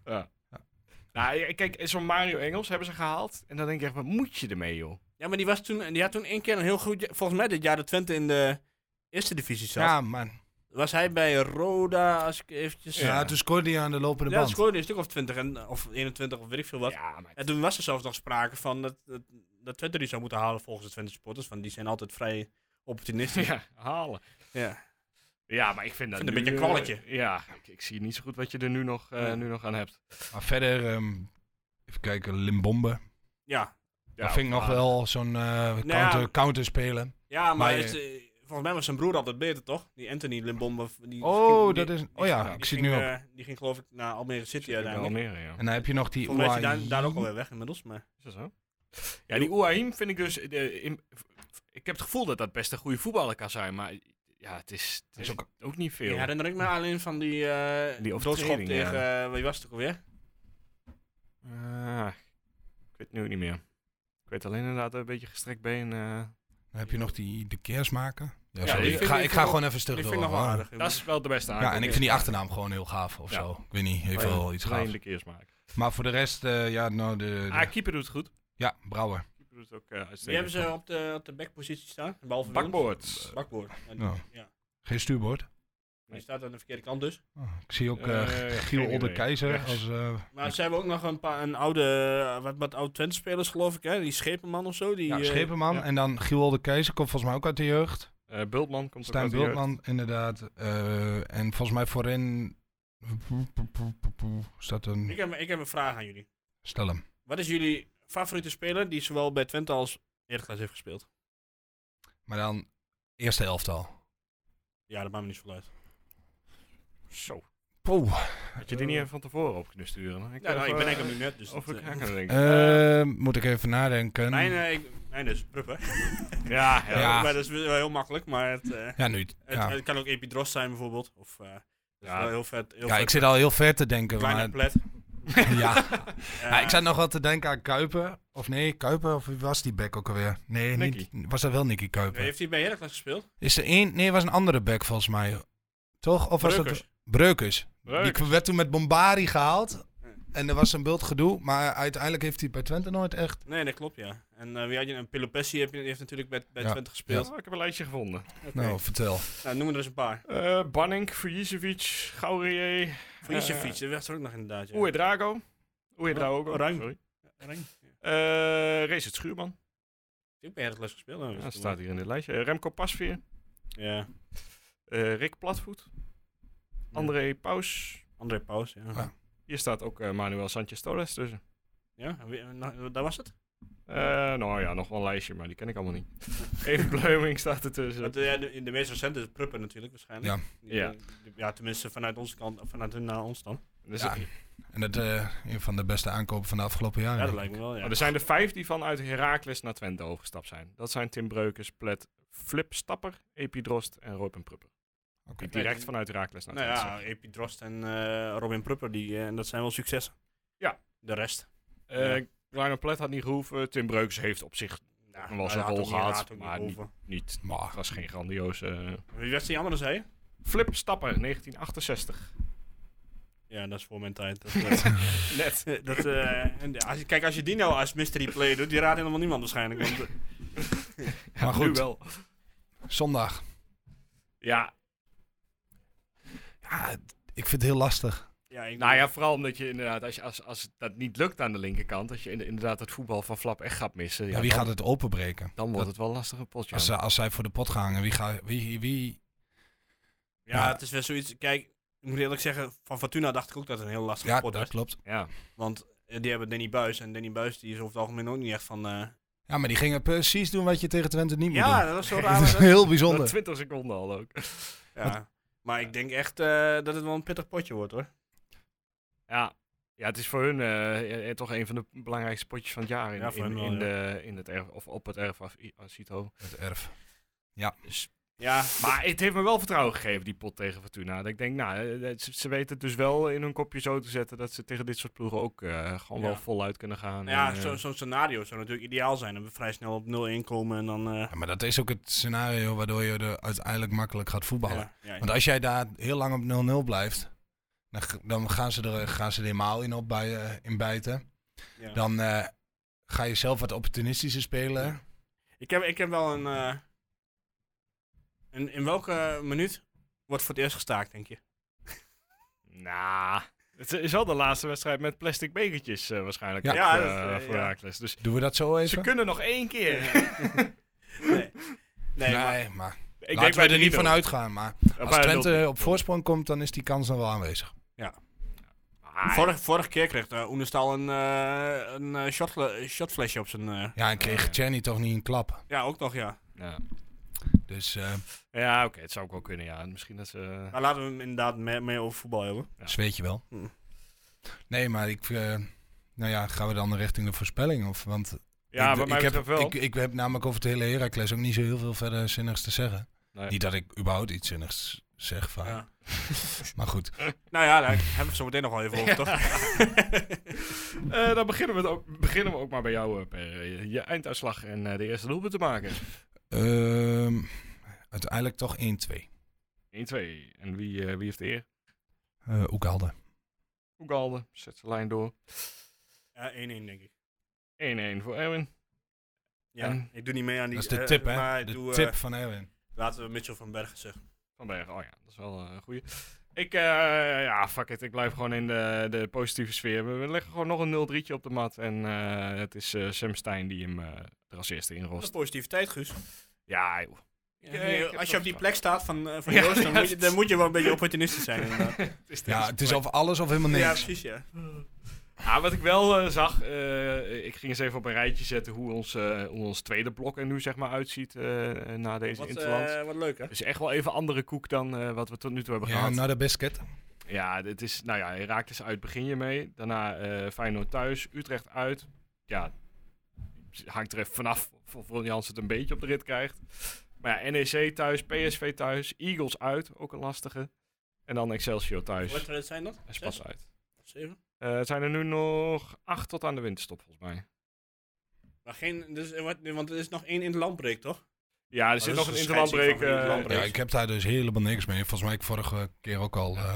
S1: Nou, ja, kijk, zo'n Mario Engels hebben ze gehaald. En dan denk ik echt, wat moet je ermee, joh?
S4: Ja, maar die, was toen, die had toen één keer een heel goed... ja- Volgens mij dit jaar dat Twente in de eerste divisie zat.
S2: Ja, man.
S4: Was hij bij Roda, als ik eventjes...
S2: Ja, toen scoorde hij aan de lopende
S4: ja,
S2: band.
S4: scoorde hij een stuk of 20 en, of 21 of weet ik veel wat.
S1: Ja, maar...
S4: En toen was er zelfs nog sprake van dat, dat, dat Twente die zou moeten halen volgens de Twente supporters. Want die zijn altijd vrij opportunistisch.
S1: Ja, halen.
S4: ja.
S1: Ja, maar ik vind dat
S4: vind het een
S1: nu,
S4: beetje een kwalletje.
S1: eh, ja, ik, ik zie niet zo goed wat je er nu nog, eh,
S4: Ja.
S1: nu nog aan hebt.
S2: Maar verder, ehm, even kijken, Limbombe.
S4: ja. Nou
S1: Ja,
S2: dat vind ik nog
S1: maar-
S2: wel zo'n eh counter,
S4: ja.
S2: counter spelen.
S4: Ja, maar,
S2: Maar
S4: hij
S2: je-
S4: is, eh, volgens mij was zijn broer altijd beter, toch? Die Anthony Limbombe. Die,
S2: Oh,
S4: die-
S2: dat is- oh ja,
S4: die
S2: ik zie
S4: ging,
S2: het nu
S4: eh, die ging geloof ik naar Almere City
S1: Ja,
S4: uiteindelijk.
S1: Almere, ja.
S2: En dan heb je nog die
S4: Volgens mij is hij
S2: Ouai-
S4: daar, daar ook alweer weg inmiddels. Maar
S1: Is dat zo? Ja, die Ouahim vind ik dus... eh, in- ik heb het gevoel dat dat best een goede voetballer kan zijn, maar... Ja, het is, het is ook, ook niet veel.
S4: die herinner ik me alleen van die, eh
S1: Die
S4: doodschop
S1: overtreding,
S4: tegen, eh, wie was het ook alweer?
S1: Ah, ik weet het nu ook niet meer. Ik weet alleen inderdaad een beetje gestrekt been. eh.
S2: Dan heb je nog die de keersmaker. Ja,
S1: Ja,
S2: sorry.
S1: die
S2: ik
S1: vind-
S2: ga,
S4: die
S2: ik
S4: vind
S2: ga
S4: ik
S2: gewoon even stuk
S4: Die
S2: door.
S4: vind ik nog wel
S2: hoor.
S4: aardig.
S1: Dat is wel de beste aankoop.
S2: Ja, en ik vind die achternaam gewoon heel gaaf of
S1: Ja.
S2: zo. Ik weet niet, heeft
S4: Oh ja.
S2: wel iets gaafs.
S1: Alleen de keers maken.
S2: Maar voor de rest, eh, ja, nou, de, de-
S1: Ah, keeper doet het goed.
S2: ja, Brouwer.
S1: Keeper doet het ook eh
S4: Die hebben
S1: uitstekend.
S4: ze op de, op de backpositie staan. Behalve Wielens.
S1: Bakboord.
S4: Bakboord. Ja, die-
S2: Nou,
S4: ja.
S2: Geen stuurboord.
S4: Die staat aan de verkeerde kant dus.
S2: Oh, ik zie ook eh
S1: Eh, geen
S2: Giel
S1: idee.
S2: Olderkeizer
S1: Rechts.
S2: als... eh,
S4: Maar ze hebben ook nog een paar een oude, eh, wat, wat oude Twente-spelers geloof ik, hè? Die Schepenman of zo. Die,
S2: ja,
S4: eh,
S2: Schepenman.
S1: ja.
S2: En dan Giel Olderkeizer komt volgens mij ook uit de jeugd.
S1: Eh, Bultman komt ook
S2: Stijn
S1: uit de jeugd.
S2: Bultman, inderdaad. Eh, en volgens mij voorin staat
S4: ik,
S2: een...
S4: heb, ik heb een vraag aan jullie.
S2: Stel hem.
S4: Wat is jullie favoriete speler die zowel bij Twente als Heracles heeft gespeeld?
S2: Maar dan eerste elftal.
S4: Ja, dat maakt me niet zoveel uit.
S1: Zo.
S2: Poeh.
S1: Had je die niet eh, even van tevoren op kunnen sturen?
S4: Ja, nou, ik ben eigenlijk
S1: nu.
S4: nu net, dus...
S1: oh, Of
S4: dat,
S1: ik
S4: eh,
S1: aan kan denken.
S2: Eh, moet ik even nadenken.
S4: mijn, eh, ik- mijn is Pruppen.
S1: ja, ja.
S2: Ja.
S4: Maar dat is wel heel makkelijk, maar het, eh,
S2: ja, nu.
S4: het,
S2: Ja.
S4: het kan ook Epidros zijn bijvoorbeeld. Of eh, dat is
S1: Ja.
S4: wel heel vet. Heel
S2: ja,
S4: vet.
S2: ik zit al heel ver te denken.
S4: Kleine eh.
S2: Maar,
S4: plet.
S2: ja. ja, ik
S4: zou
S2: zat nog wat te denken aan Kuiper. Of nee, Kuiper. Of wie was die back ook alweer? Nee,
S1: Nicky.
S2: niet, was dat wel Nicky Kuiper?
S4: Heeft hij bij Heracles gespeeld?
S2: Is er één? Nee, was een andere back volgens mij. Toch? Of was dat...
S4: Breukers.
S2: Breukers.
S1: Leuk.
S2: Die werd toen met Bombari gehaald. En er was een bult gedoe. Maar uiteindelijk heeft hij bij Twente nooit echt.
S4: Nee, dat klopt, ja. En eh, wie had je? Een Pelopessi heb je- heeft natuurlijk bij, bij
S2: Ja.
S4: Twente gespeeld.
S1: Oh, ik heb een lijstje gevonden.
S4: Oké.
S2: Nou, vertel.
S4: Nou, noem er eens een paar.
S1: Eh Banning, Fujicevic, Gaurier,
S4: Voor
S1: Eh,
S4: Isevic, dat werd er ook nog inderdaad. Ja.
S1: Oei Drago. Oei Drago.
S4: Oranje.
S1: Oh, Sorry.
S4: Rijn. Ja.
S1: Eh Racet Schuurman.
S4: Ik ben Heracles gespeeld. nou,
S1: Ja,
S4: dat
S1: dat
S4: is
S1: staat hier in dit lijstje. Eh, Remco Pasveer.
S4: Ja.
S1: eh, Rick Platvoet. André Paus.
S4: André Paus, ja.
S2: Ja.
S1: Hier staat ook eh, Manuel Sanchez Torres tussen.
S4: Ja, en wie- en nou, daar was het.
S1: Eh, nou ja, nog wel een lijstje, maar die ken ik allemaal niet. Even Bleuming staat ertussen.
S4: Want, eh, ja, de, de meest recente is Pruppen natuurlijk, waarschijnlijk. Die- die-
S1: Ja.
S4: die- Ja. tenminste vanuit onze kant, of vanuit hun naar ons dan.
S1: Dus
S2: Ja.
S1: het-
S2: En dat eh een van de beste aankopen van de afgelopen jaren.
S4: Ja, dat
S2: denk
S4: lijkt
S2: ik.
S4: me wel, ja.
S1: maar er zijn er vijf die vanuit Heracles naar Twente overgestapt zijn. Dat zijn Tim Breukers, Plet, Flip Stapper, Epidrost en Robin Prupper.
S2: Oké.
S1: Die direct
S4: Nee.
S1: vanuit Heracles naar
S4: nou
S1: Twente
S4: ja, Epidrost en eh, Robin Prupper, die, eh, en dat zijn wel successen.
S1: Ja.
S4: De rest.
S1: zijn. Eh
S4: ja.
S1: Lionel Plet had niet gehoeven. Tim Breukers heeft op zich
S4: Nou,
S1: Dan was
S4: hij
S1: een
S4: had
S1: rol
S4: ook niet-
S1: gehad,
S4: had ook niet
S1: maar niet-
S4: hoeven.
S1: niet.
S2: Maar,
S1: Het was geen grandioze... eh.
S4: Wie was die andere, zei je?
S1: Flip Stapper, 1968.
S4: Ja, dat is voor mijn tijd. Dat, eh,
S1: Net.
S4: Eh, Dat, eh, en als je- kijk, als je die nou als mystery play doet, die raadt helemaal niemand waarschijnlijk. Want, eh,
S2: maar
S1: Nu
S2: goed,
S1: wel.
S2: zondag.
S1: Ja,
S2: Ja, ik vind het heel lastig.
S4: Ja, ik
S1: Nou ja, vooral omdat je inderdaad, als, je, als, als dat niet lukt aan de linkerkant, dat je in- inderdaad het voetbal van Flap echt gaat missen. Ja,
S2: Ja, wie
S1: dan,
S2: gaat het openbreken?
S1: dan wordt het wel een lastige potje.
S2: Als, ze- als zij voor de pot gaan, wie, ga, wie, wie...
S4: ja,
S2: ja.
S4: het is wel zoiets. Kijk, ik moet eerlijk zeggen, van Fortuna dacht ik ook dat het een heel lastige
S2: Ja,
S4: pot
S2: dat
S4: was.
S2: klopt.
S1: Ja.
S4: Want eh, die hebben Danny Buis. En Danny Buis die is over het algemeen ook niet echt van. eh,
S2: Ja, maar die gingen precies doen wat je tegen Twente niet moet
S4: Ja,
S2: doen.
S4: dat was zo
S2: Dat is
S4: raar.
S2: heel
S1: Na
S2: bijzonder.
S1: 20 seconden al ook.
S4: ja. Maar ik denk echt eh, dat het wel een pittig potje wordt hoor.
S1: Ja, ja het is voor hun eh, eh, toch een van de belangrijkste potjes van het jaar in,
S4: Ja, voor
S1: in,
S4: hun wel,
S1: in
S4: ja.
S1: de, in het erf, of op het erf af Asito.
S2: Het erf.
S4: Dus- Ja,
S1: Maar het heeft me wel vertrouwen gegeven, die pot tegen Fortuna. Dat ik denk, nou, eh, ze, ze weten het dus wel in hun kopje zo te zetten dat ze tegen dit soort ploegen ook eh, gewoon
S4: Ja.
S1: wel voluit kunnen gaan.
S4: ja
S1: En, eh,
S4: zo- zo'n scenario zou natuurlijk ideaal zijn. Dat we vrij snel op 0-1 komen en dan. eh,
S2: Ja, maar dat is ook het scenario waardoor je er uiteindelijk makkelijk gaat voetballen.
S4: ja, ja,
S2: Want als jij daar heel lang op 0-0 blijft, dan, g- dan gaan, ze er, gaan ze er helemaal in, op bij, eh, in bijten.
S4: ja.
S2: Dan eh, ga je zelf wat opportunistischer spelen.
S4: Ja. Ik heb, ik heb wel een, eh, een. In welke minuut wordt voor het eerst gestaakt, denk je?
S1: Nou, het is wel de laatste wedstrijd met plastic bekertjes eh, waarschijnlijk.
S2: Ja.
S1: ook,
S4: Ja,
S1: eh,
S4: dat, eh,
S1: voor
S4: ja. Nou,
S1: Heracles. Dus
S2: Doen we dat zo
S1: ze
S2: even?
S1: kunnen nog één keer.
S4: nee. Nee,
S2: nee,
S4: maar-
S2: maar,
S1: Ik
S2: laten we er
S1: 3-0.
S2: niet van uitgaan. Maar
S1: Eh,
S2: als
S1: bij
S2: Twente
S1: 0-3.
S2: op voorsprong komt, dan is die kans dan wel aanwezig.
S1: Ah,
S4: Vorige, vorige keer kreeg eh, Oenestal een, eh een eh, shotfle- shotflesje op zijn. eh,
S2: Ja, en kreeg
S1: Ja.
S2: Czerny toch niet een klap.
S4: ja, ook nog, ja.
S1: ja,
S2: Dus eh
S1: ja oké, het zou ook wel kunnen, ja. Misschien dat ze...
S4: Maar laten we hem inderdaad mee, mee over voetbal hebben.
S1: Ja.
S2: zweet je wel.
S4: Hm.
S2: Nee, maar ik... eh, nou ja, gaan we dan richting de voorspelling? Of, want
S1: ja,
S2: ik,
S1: bij mij
S2: ik heb,
S1: betreft wel.
S2: Ik, ik heb namelijk over het hele Heracles ook niet zo heel veel verder zinnigs te zeggen.
S1: Nee.
S2: Niet dat ik überhaupt iets zinnigs zeg vaak.
S4: Ja.
S2: Maar goed.
S4: Nou ja, daar hebben we het zo meteen nog wel even over, toch?
S1: Eh, dan beginnen we, het ook, beginnen we ook maar bij jou, eh, Per. Je, je einduitslag en eh, de eerste doelpunt te maken. 1-2.
S2: Ehm, uiteindelijk toch 1-2.
S1: En wie, eh, wie heeft de eer?
S2: Eh Oekalde.
S1: Oegalde, zet zijn lijn door.
S4: Ja, 1-1, denk ik.
S1: 1-1 voor Erwin.
S4: Ja,
S1: En?
S4: ik doe niet mee aan die...
S2: Dat is de
S4: eh,
S2: tip, hè?
S4: Maar ik
S2: de
S4: doe, eh,
S2: tip van Erwin.
S4: laten we Mitchell van Bergen zeggen.
S1: Van Bergen, oh ja, dat is wel eh, een goeie. Ik, eh, ja, fuck it, ik blijf gewoon in de, de positieve sfeer. We, we leggen gewoon nog een 0-3'tje op de mat. En eh, het is eh, Sam Stein die hem eh, er als eerste
S4: Dat is
S1: inrost.
S4: positiviteit, Guus.
S1: Ja, joh. Ja, ik heb
S4: Eh, als je op die
S1: ook-
S4: plek staat van, eh, van
S1: Ja,
S4: Joost, dan,
S1: ja,
S4: moet je, dan moet je wel een beetje opportunistisch zijn, inderdaad.
S1: Het is
S2: Ja, het is of alles of helemaal
S4: Ja,
S2: niks.
S4: precies, ja.
S1: Ja, wat ik wel eh, zag, eh, ik ging eens even op een rijtje zetten hoe ons, eh, hoe ons tweede blok er nu zeg maar uitziet eh, na deze
S4: Wat,
S1: interland.
S4: eh, wat leuk, hè?
S1: Het is echt wel even andere koek dan eh, wat we tot nu toe hebben
S2: Ja, nou-
S1: gehad.
S2: naar de biscuit.
S1: Ja, dit is, nou ja, Herakles uit begin je mee. Daarna eh Feyenoord thuis, Utrecht uit. Ja, het hangt er even vanaf of Ron Jans het een beetje op de rit krijgt. Maar ja, NEC thuis, PSV thuis, Eagles uit, ook een lastige. En dan Excelsior thuis
S4: Wat eh, zijn dat?
S1: en Spas uit.
S4: Zeven?
S1: Eh, het zijn er nu nog acht tot aan de winterstop, volgens mij.
S4: Maar geen, dus, er wordt- want er is nog één in het landbreek, toch?
S1: Ja, er
S4: Oh, dat
S1: zit
S4: is
S1: nog
S4: een
S1: een
S4: scheiding
S1: interlandbreek.
S4: van wie
S1: eh,
S4: interlandbreek.
S2: Ja, ik heb daar dus helemaal niks mee. Volgens mij heb ik vorige keer ook al... eh,
S1: daar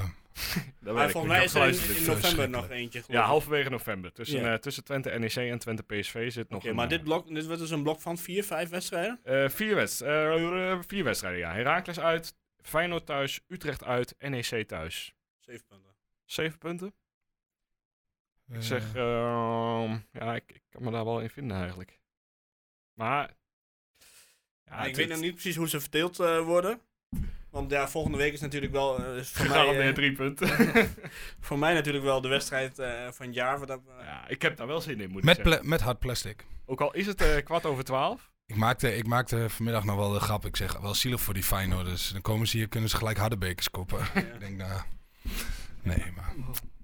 S1: weet ik,
S4: Maar Ah, volgens
S1: ik
S4: mij
S1: heb
S4: is er in,
S1: geluisterd. eh,
S4: in
S2: dit
S4: november nog
S2: verschrikkelijk.
S4: eentje, geloof
S1: Ja,
S4: ik.
S1: halverwege november. Tussen,
S4: Ja.
S1: eh, tussen Twente NEC en Twente PSV zit nog
S4: Oké,
S1: een,
S4: maar
S1: eh,
S4: dit, blok, dit wordt dus een blok van vier, vijf wedstrijden?
S1: Eh, vier, wedst eh, vier wedstrijden, ja. Heracles uit, Feyenoord thuis, Utrecht uit, NEC thuis.
S4: Zeven punten.
S1: Zeven punten.
S2: eh,
S1: Ik zeg,
S4: Eh.
S1: ehm, ja, ik, ik kan me daar wel in vinden eigenlijk. Maar... Ja,
S4: Maar ik
S1: het-
S4: weet nog niet precies hoe ze verdeeld eh, worden. Want ja, volgende week is natuurlijk wel... eh, is voor, mij,
S1: Gegarandeerd
S4: eh,
S1: drie punten.
S4: voor mij natuurlijk wel de wedstrijd eh, van het jaar. Wat dat, eh,
S1: ja, ik heb daar wel zin in, moet ik
S2: met,
S1: zeggen.
S2: pla- met hard plastic.
S1: Ook al is het eh, kwart over twaalf.
S2: Ik maakte, ik maakte vanmiddag nog wel de grap. Ik zeg, wel zielig voor die Feyenoorders. Dan komen ze hier, kunnen ze gelijk harde bekers koppen. ik denk, nou... Nee, maar...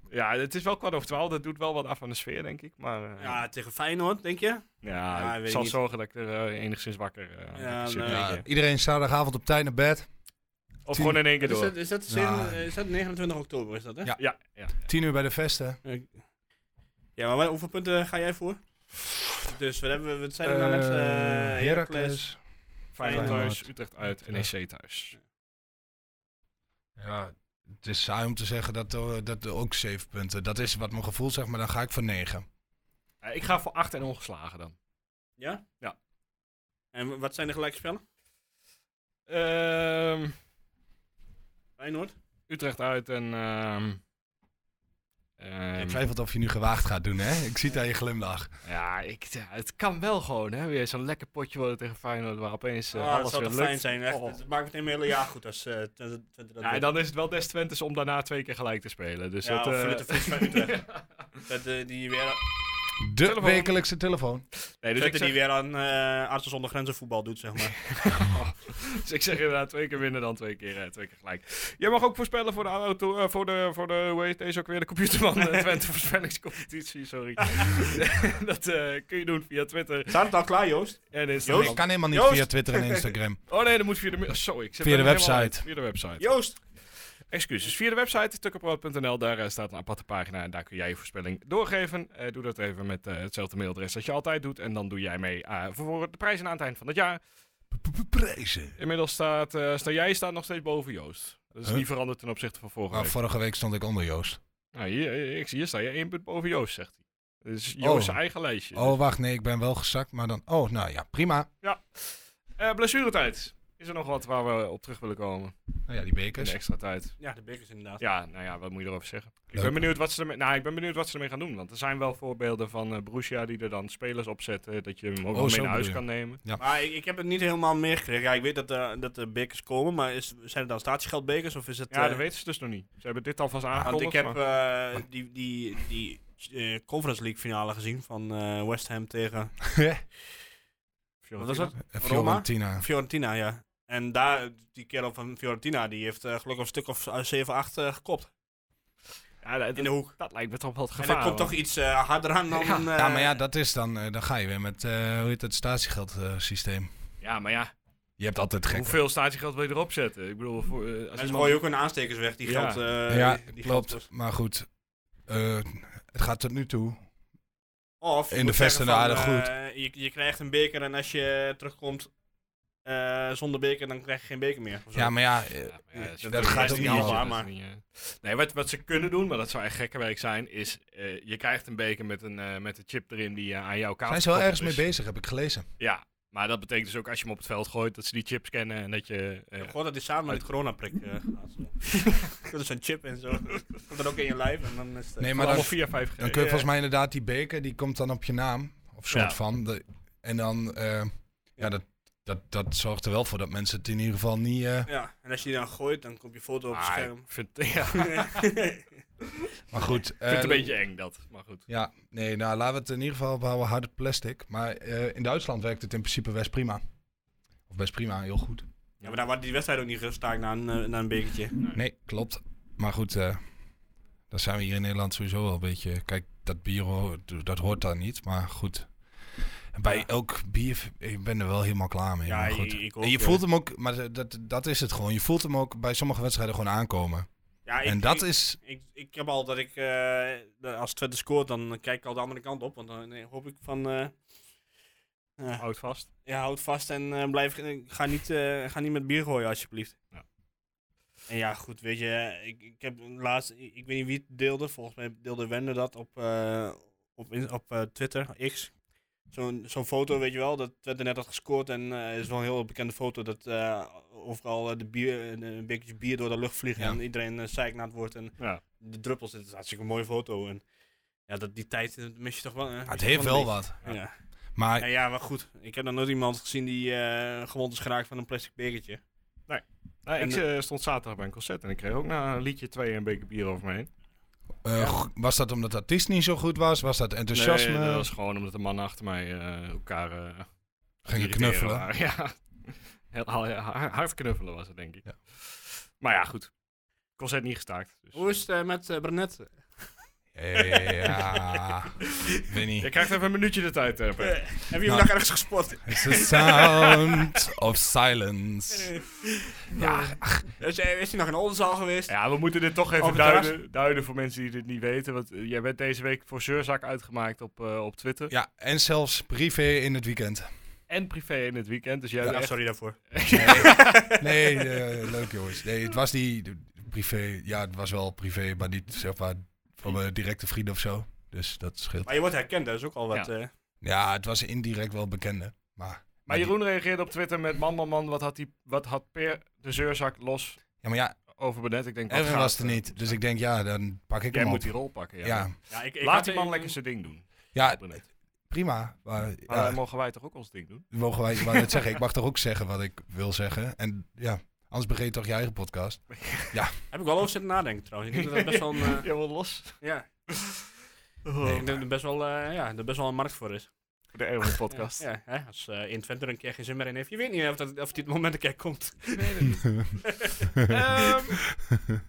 S1: Ja, het is wel kwart over twaalf. Dat doet wel wat af aan de sfeer, denk ik. Maar eh, ja,
S4: ja, tegen Feyenoord, denk je? ja,
S1: ik
S4: weet
S1: zal
S4: niet.
S1: zorgen dat ik er eh, enigszins wakker eh,
S4: Ja,
S1: zit.
S4: nee.
S1: denk
S2: Ja,
S1: je.
S2: iedereen zaterdagavond op tijd naar bed.
S1: Of gewoon in één keer
S4: Is
S1: door.
S4: dat, is, dat
S2: Ja.
S4: zeven- eh, is dat 29 oktober, is dat hè?
S2: Ja.
S1: Ja, ja.
S2: Tien uur bij de vesten.
S4: Ja, maar wat- hoeveel punten ga jij voor? Dus wat, hebben we, wat zijn er nou net? eh, Heracles.
S2: Heracles.
S1: Feyenoord thuis,
S2: Feyenoord.
S1: Utrecht uit, NEC thuis.
S2: Ja, het is saai om te zeggen dat, eh, dat er ook zeven punten. Dat is wat mijn gevoel zegt, maar dan ga ik voor negen.
S1: Eh, ik ga voor 8 en ongeslagen dan.
S4: Ja?
S1: Ja.
S4: En w- wat zijn de gelijkspellen?
S1: Ehm,
S4: Feyenoord?
S1: Utrecht uit en ehm, Ehm,
S2: Ik twijfel of je nu gewaagd gaat doen, hè? Ik zie het aan je glimlach.
S1: ja, ik, ja, het kan wel gewoon, hè. Weer zo'n lekker potje worden tegen Feyenoord, waar opeens eh,
S4: Ah, dat
S1: alles
S4: zou
S1: weer
S4: toch
S1: lukt.
S4: fijn zijn. Echt,
S1: Oh.
S4: Het maakt meteen mijn hele jaar goed als eh Twente Twente dat
S1: Ja, en
S4: doet.
S1: dan is het wel des Twentes om daarna twee keer gelijk te spelen. Dus
S4: Ja,
S1: dat,
S4: of
S1: eh,
S4: Rutte Vries van Utrecht. Dat, eh, die weer,
S2: De
S1: Telefoon.
S2: wekelijkse telefoon.
S1: nee, dus, ik
S4: Twente
S1: zeg,
S4: die weer aan eh Artsen zonder grenzen voetbal doet, zeg maar.
S1: dus ik zeg inderdaad twee keer winnen, dan twee keer, eh, twee keer gelijk. Jij mag ook voorspellen voor de auto, eh, voor de, voor de, hoe heet deze ook weer, de computerman eh, Twente voorspellingscompetitie, sorry. dat eh, kun je doen via Twitter
S4: Staat het al klaar, Joost?
S1: en Instagram.
S4: Joost?
S2: Ik kan helemaal niet
S4: Joost.
S2: via Twitter en Instagram.
S1: Oh nee, dat moet via de, mi- sorry, ik zit
S2: Via de
S1: er helemaal
S2: website.
S1: uit. Via de website.
S4: Joost!
S1: Excuses. Via de website tukkenproot.nl, daar eh, staat een aparte pagina en daar kun jij je voorspelling doorgeven. Eh, doe dat even met eh, hetzelfde mailadres dat je altijd doet. En dan doe jij mee eh, voor de prijzen aan het eind van het jaar.
S2: Prijzen.
S1: Inmiddels staat, eh, sta jij staat nog steeds boven Joost. Dat is
S2: Huh?
S1: niet veranderd ten opzichte van vorige
S2: Nou,
S1: week.
S2: vorige week stond ik onder Joost.
S1: Nou, hier, eh, ik zie, hier sta je één punt boven Joost, zegt hij. Dat is Joost zijn eigen lijstje.
S2: Oh, wacht, nee, ik ben wel gezakt, maar dan... Oh, nou ja, prima.
S1: Eh, blessuretijd. Is er nog wat waar we op terug willen komen?
S2: Nou ja, die
S1: In de
S2: bekers.
S1: extra tijd.
S4: Ja, de bekers inderdaad.
S1: Ja, nou ja, wat moet je erover zeggen? Ik
S2: Leuk.
S1: ben, benieuwd wat ze ermee, nou, ik ben benieuwd wat ze ermee gaan doen. Want er zijn wel voorbeelden van eh Borussia die er dan spelers op zetten. Dat je hem ook
S2: Oh,
S1: wel mee
S2: zo
S1: naar huis
S2: bedoel
S1: kan nemen.
S4: Maar ik, ik heb het niet helemaal meegekregen. Ja, ik weet dat, eh, dat de bekers komen, maar is, zijn het dan statiegeldbekers of is het...
S1: Ja,
S4: eh,
S1: dat weten ze dus nog niet. Ze hebben dit alvast
S4: Want ik
S1: aangekondigd.
S4: heb
S1: maar-
S4: eh, die, die, die eh, Conference League finale gezien van eh, West Ham tegen eh, wat was dat?
S2: Eh, Fiorentina.
S4: Fiorentina, ja. En daar, die kerel van Fiorentina, die heeft eh, gelukkig een stuk of eh, 7-8 eh, gekopt.
S1: Ja, dat,
S4: In de hoek.
S1: dat lijkt me toch wel het
S4: En
S1: gevaar.
S4: dat komt toch
S1: hoor.
S4: iets eh, harder aan dan...
S1: Ja.
S4: eh,
S2: Ja, maar ja, dat is dan... eh, dan ga je weer met, eh, hoe heet het, statiegeldsysteem.
S1: Ja, maar ja.
S2: je hebt altijd gek.
S1: Hoeveel statiegeld wil je erop zetten? Ik bedoel, voor, eh, als
S4: En ze
S1: iemand-
S4: gooien ook hun aanstekers weg, die
S1: Ja.
S4: geld... eh,
S2: ja,
S4: die- die
S2: klopt.
S4: geld-
S2: Maar goed, eh, het gaat tot nu toe.
S4: Of je
S2: In de
S4: moet
S2: vesten
S4: zeggen
S2: aardig
S4: van, eh, je, je krijgt een beker en als je terugkomt eh, zonder beker, dan krijg je geen beker meer. of zo.
S2: Ja, maar ja, eh,
S1: Ja, maar ja,
S2: dat
S1: natuurlijk-
S2: gaat
S1: is
S2: ook
S4: niet
S1: zo,
S4: waar,
S1: dat is
S4: maar-
S1: niet, eh. Nee, wat, wat ze kunnen doen, maar dat zou echt gekke werk zijn, is eh, je krijgt een beker met een, eh, met een chip erin die eh, aan jouw kaart
S2: zijn ze wel
S1: gekoppeld
S2: ergens mee
S1: is.
S2: bezig, heb ik gelezen.
S1: Ja, maar dat betekent dus ook als je hem op het veld gooit, dat ze die chips kennen en dat je... eh,
S4: Ik hoor dat die samen met het coronaprik eh, gaat. Dat is een chip en zo. Komt dan ook in je lijf en dan is het...
S2: Nee, maar
S1: allemaal
S2: dan,
S1: 4 5
S2: dan kun je volgens mij inderdaad die beker, die komt dan op je naam. Of soort
S1: Ja.
S2: van. De- en dan, eh, ja, dat, dat, dat zorgt er wel voor dat mensen het in ieder geval niet... eh,
S4: Ja, en als je die dan gooit, dan komt je foto
S2: Ah,
S4: op het scherm.
S1: Ah, ik vind, ja, ik
S2: maar goed.
S1: vind het
S2: eh,
S1: een beetje eng dat, maar goed.
S2: Ja, nee, nou laten we het in ieder geval behouden harde plastic. Maar eh, in Duitsland werkt het in principe best prima. Of best prima, heel goed.
S4: Ja, maar daar wordt die wedstrijd ook niet gestaakt na een, eh, na een bekertje.
S2: Nee, klopt. Maar goed, eh dan zijn we hier in Nederland sowieso wel een beetje... Kijk, dat bier, ho- dat hoort daar niet, maar goed. En Bij
S4: Ja.
S2: elk bier, ik ben er wel helemaal klaar mee.
S4: Ja,
S2: maar
S4: ik-
S2: goed.
S4: ik ook,
S2: en je
S4: ja.
S2: voelt hem ook, maar dat, dat is het gewoon. Je voelt hem ook bij sommige wedstrijden gewoon aankomen.
S4: Ja, ik,
S2: en dat
S4: ik,
S2: is...
S4: Ik, ik heb al dat ik, eh, dat als Twente scoort, dan kijk ik al de andere kant op. Want dan eh, hoop ik van... eh, eh,
S1: Houd vast.
S4: ja, houd vast en eh, blijf, ga, niet, eh, ga niet met bier gooien, alsjeblieft.
S1: Ja.
S4: En ja, goed, weet je, ik, ik heb laatst, ik, ik weet niet wie het deelde, volgens mij deelde Wende dat op, eh, op, in- op eh, Twitter, X. Zo'n zo'n foto, weet je wel, dat Twente net had gescoord en eh is wel een heel bekende foto dat eh, overal eh, de bier, eh, een beetje bier door de lucht vliegen
S2: Ja.
S4: en iedereen uh, zeiknaad wordt en
S1: Ja.
S4: de druppels, het is hartstikke een mooie foto. En ja, dat, die tijd eh, mis je toch wel. eh, mis
S2: het
S4: je
S2: heeft
S4: toch
S2: wel
S4: een
S2: wat.
S4: beetje. Ja.
S2: Maar
S4: Ja, ja, maar goed. Ik heb nog nooit iemand gezien die eh, gewond is geraakt van een plastic bekertje.
S1: Nou,
S4: En
S1: ik
S4: de-
S1: eh, stond zaterdag bij een concert en ik kreeg ook na een liedje twee en een beker bier over me heen.
S2: eh, g- was dat omdat de artiest niet zo goed was? Was dat enthousiasme?
S1: Nee, dat was gewoon omdat de mannen achter mij eh, elkaar eh,
S2: Gingen
S1: irriteren
S2: knuffelen?
S1: waren. Ja. Heel, al- ja, ha- hard knuffelen was het, denk ik.
S2: Ja.
S1: Maar ja, goed. Concert niet gestaakt. Dus.
S4: Hoe is het eh, met eh Brenet?
S2: Ja, Winnie.
S1: Je krijgt even een minuutje de tijd, eh, Pep.
S4: Heb je
S2: Nou.
S4: hem nog ergens gespot?
S2: It's the sound of silence. Ja,
S4: Is, eh, is hij nog in Oldenzaal geweest?
S1: Ja, we moeten dit toch
S4: Op
S1: even
S4: het terras.
S1: duiden, duiden voor mensen die dit niet weten. Want eh, jij bent deze week voor Zeurzak uitgemaakt op, eh, op Twitter.
S2: ja, en zelfs privé in het weekend.
S1: En privé in het weekend. Dus jij
S4: Ja,
S1: bent echt-
S4: sorry daarvoor.
S2: Nee, eh, leuk jongens. Nee, het was die de- privé. Ja, het was wel privé, maar niet zeg maar van mijn directe vrienden of zo. Dus dat scheelt.
S4: Maar je wordt herkend, dat is ook al wat.
S1: Ja.
S4: eh.
S2: Ja, het was indirect wel bekende. Maar,
S1: Maar
S2: die-
S1: Jeroen reageerde op Twitter met man, man, man, wat had, die, wat had Per de Zeurzak los
S2: ja, maar ja,
S1: over Benet. Ik denk, wat
S2: Erwin
S1: gaat-
S2: was er niet. Dus ik denk, ja, dan pak ik
S1: Jij
S2: hem op.
S1: moet die rol pakken. Ja.
S2: ja.
S4: Ja, ik, ik had
S1: Laat die man
S4: een-
S1: lekker zijn ding doen.
S2: ja,
S1: Benet.
S2: prima. Maar,
S1: Maar
S2: ja,
S1: dan mogen wij toch ook ons ding doen?
S2: mogen wij maar dat zeggen? Ik mag toch ook zeggen wat ik wil zeggen? En ja, anders begreep toch je eigen podcast.
S4: Heb ik wel over zitten nadenken trouwens. Ik denk dat er best wel een, eh,
S1: Ja, wel los.
S4: ja,
S1: Oh,
S4: ik denk dat er best wel, eh, ja, er best wel een markt voor is.
S1: voor de Erwin
S4: Ja,
S1: podcast.
S4: Ja, hè, als eh in Twente er een keer geen zin meer in heeft. Je weet niet of, dat, of dit moment een keer komt.
S1: Ehm,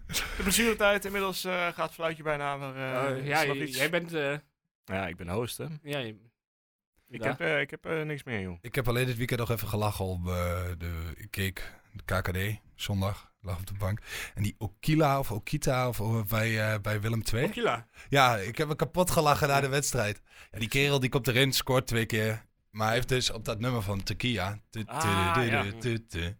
S1: de blessuretijd inmiddels eh, gaat het fluitje bijna. Maar, eh,
S4: Eh, ja,
S1: is nog
S4: j-
S1: iets.
S4: jij bent... eh,
S1: ja, ik ben host, hè.
S4: ja, je-
S1: Ik
S4: Ja.
S1: heb, eh, ik heb eh, niks meer, joh.
S2: Ik heb alleen dit weekend nog even gelachen op eh, de... Ik keek de KKD, zondag, lag op de bank. En die Okila of Okita of, of bij, eh, bij Willem II.
S4: Okila.
S2: Ja, ik heb me kapot gelachen na de wedstrijd. Ja, die kerel die komt erin, scoort twee keer. Maar hij heeft dus op dat nummer van Tequila. Tu- tu-
S1: Ah,
S2: tu-
S1: ja.
S2: tu- tu- tu.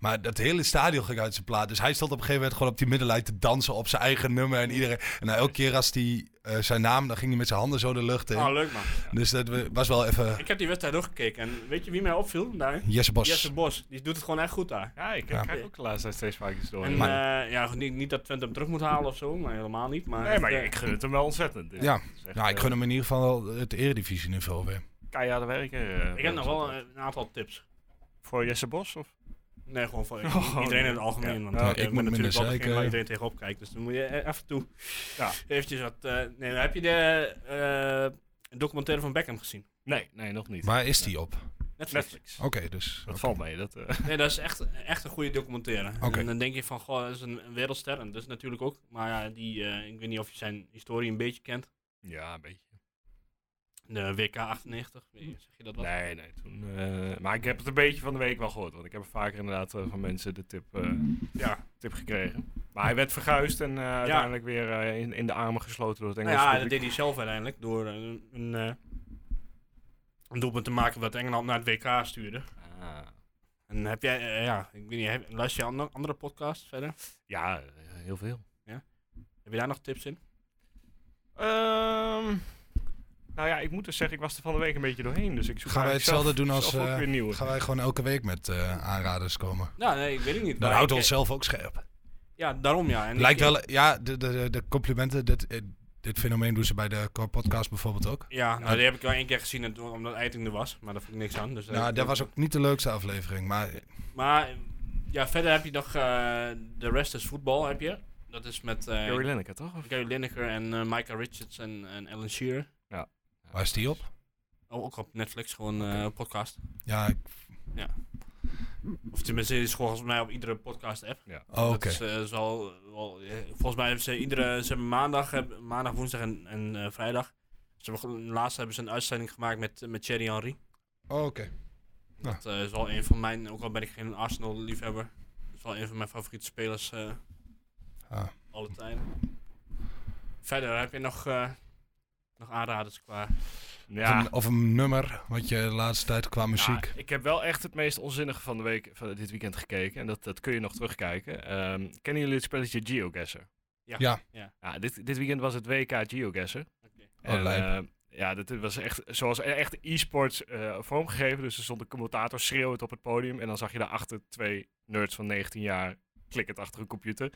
S2: Maar dat hele stadion ging uit zijn plaat. Dus hij stond op een gegeven moment gewoon op die middenlijn te dansen op zijn eigen nummer. En iedereen. En nou, elke keer als hij zijn naam, dan ging hij met zijn handen zo de lucht in.
S4: Ah, leuk man.
S2: Dus dat we- was wel even.
S4: Ik heb die wedstrijd doorgekeken en weet je wie mij opviel daar?
S2: Jesse Bos.
S4: Jesse Bos. Die doet het gewoon echt goed daar.
S1: Ja, ik
S2: Ja.
S1: krijg ook de laatste tijd steeds vaak iets
S2: Oh,
S1: door.
S4: En
S1: Maar-
S4: eh, ja, goed, niet, niet dat Twente hem terug moet halen of zo, maar helemaal niet. Maar
S1: nee, maar
S4: eh,
S1: ik gun het hem wel ontzettend. Dus
S2: Ja.
S1: het is echt,
S2: Nou, ik
S1: eh,
S2: gun hem in ieder geval wel het eredivisieniveau weer.
S1: keiharde werken. eh,
S4: ik heb nog wel
S1: eh,
S4: een, een aantal tips.
S1: Voor Jesse Bos? Of?
S4: Nee, gewoon voor
S1: Oh, nee.
S4: iedereen in het algemeen.
S1: Ja.
S4: Want
S2: Nou,
S4: eh,
S2: ik
S4: ben
S2: moet minder
S4: natuurlijk wel degene
S2: zeiken.
S4: waar iedereen tegenop kijkt. Dus dan moet je eh, af en toe
S1: Ja.
S4: eventjes wat... eh, nee, maar heb je de eh, documentaire van Beckham gezien?
S1: Nee, nee, nog niet.
S2: Waar is die op?
S4: Netflix.
S1: Netflix.
S2: Oké, dus.
S1: Dat valt mee. Dat, eh,
S4: Nee, dat is echt, echt een goede documentaire.
S2: Oké.
S4: En dan denk je van, goh, dat is een, een wereldster. En dat is natuurlijk ook. Maar ja, die, eh, ik weet niet of je zijn historie een beetje kent.
S1: ja, een beetje.
S4: De WK 98, weet je, zeg je dat wat?
S1: Nee, nee. Toen, eh, maar ik heb het een beetje van de week wel gehoord. Want ik heb vaker inderdaad eh, van mensen de tip, eh,
S4: Ja.
S1: tip gekregen. Maar hij werd verguisd en eh, uiteindelijk weer eh, in, in de armen gesloten door het
S4: Nou
S1: Engelse
S4: ja, dat
S1: publiek.
S4: deed hij zelf uiteindelijk door een, een, eh, een doelpunt te maken wat Engeland naar het WK stuurde.
S1: Ah.
S4: En heb jij, eh, ja, ik weet niet, heb, luister je ander- andere podcasts verder?
S1: ja, eh, heel veel.
S4: Heb je daar nog tips in?
S1: Ehm, nou ja, ik moet dus zeggen, ik was er van de week een beetje doorheen. Dus ik zoek
S2: Gaan wij
S1: eigenlijk zelf-
S2: hetzelfde doen als.
S1: zelf ook
S2: eh,
S1: weer nieuwe.
S2: gaan wij gewoon elke week met eh, aanraders komen?
S4: Nou, nee, ik weet het niet.
S2: Dan
S4: maar
S2: houdt
S4: ik-
S2: ons zelf ook scherp.
S4: Ja, daarom ja. En
S2: Lijkt
S4: ik-
S2: wel, ja, de, de, de complimenten, dit, eh, dit fenomeen doen ze bij de Core Podcast bijvoorbeeld ook.
S4: Ja, nou, die heb ik wel één keer gezien en toen- omdat Eiting er was, maar daar vond ik niks aan. Dus eh,
S2: Nou, dat was ook niet de leukste aflevering, maar
S4: Maar eh, ja, verder heb je nog eh The Rest is Voetbal, heb je. Dat is met eh,
S1: Gary Lineker, toch? Of-
S4: Gary Lineker en eh, Micah Richards en, en Alan Shearer.
S2: waar is die op?
S4: Oh, ook op Netflix, gewoon eh, podcast.
S2: Ja, ik-
S4: Of tenminste, het is gewoon volgens mij op iedere podcast-app.
S2: oh, oké.
S4: Dat is, eh, is wel, wel, eh, volgens mij hebben ze iedere ze hebben maandag, hebben- maandag, woensdag en, en eh, vrijdag. Ze hebben, gewoon- laatst hebben ze een uitzending gemaakt met, met Thierry Henry.
S2: Oh, oké.
S4: Dat eh, is wel een van mijn, ook al ben ik geen Arsenal-liefhebber, dat is wel een van mijn favoriete spelers eh
S2: Ah.
S4: alle tijden. Verder heb je nog, eh, nog aanraders qua.
S1: Ja.
S2: Of, een, of een nummer, wat je de laatste tijd qua muziek.
S1: Ja, ik heb wel echt het meest onzinnige van de week van dit weekend gekeken. En dat, dat kun je nog terugkijken. Ehm, kennen jullie het spelletje GeoGuessr?
S4: Ja.
S2: Ja.
S4: Ja.
S1: Ja, dit, dit weekend was het WK GeoGuessr.
S4: Oké.
S2: Oh,
S1: En,
S2: lijp.
S1: ehm, ja, dat was echt zoals echt e-sports eh, vormgegeven. Dus er stond een commentator schreeuwend op het podium. En dan zag je daarachter twee nerds van 19 jaar klikkend achter een computer.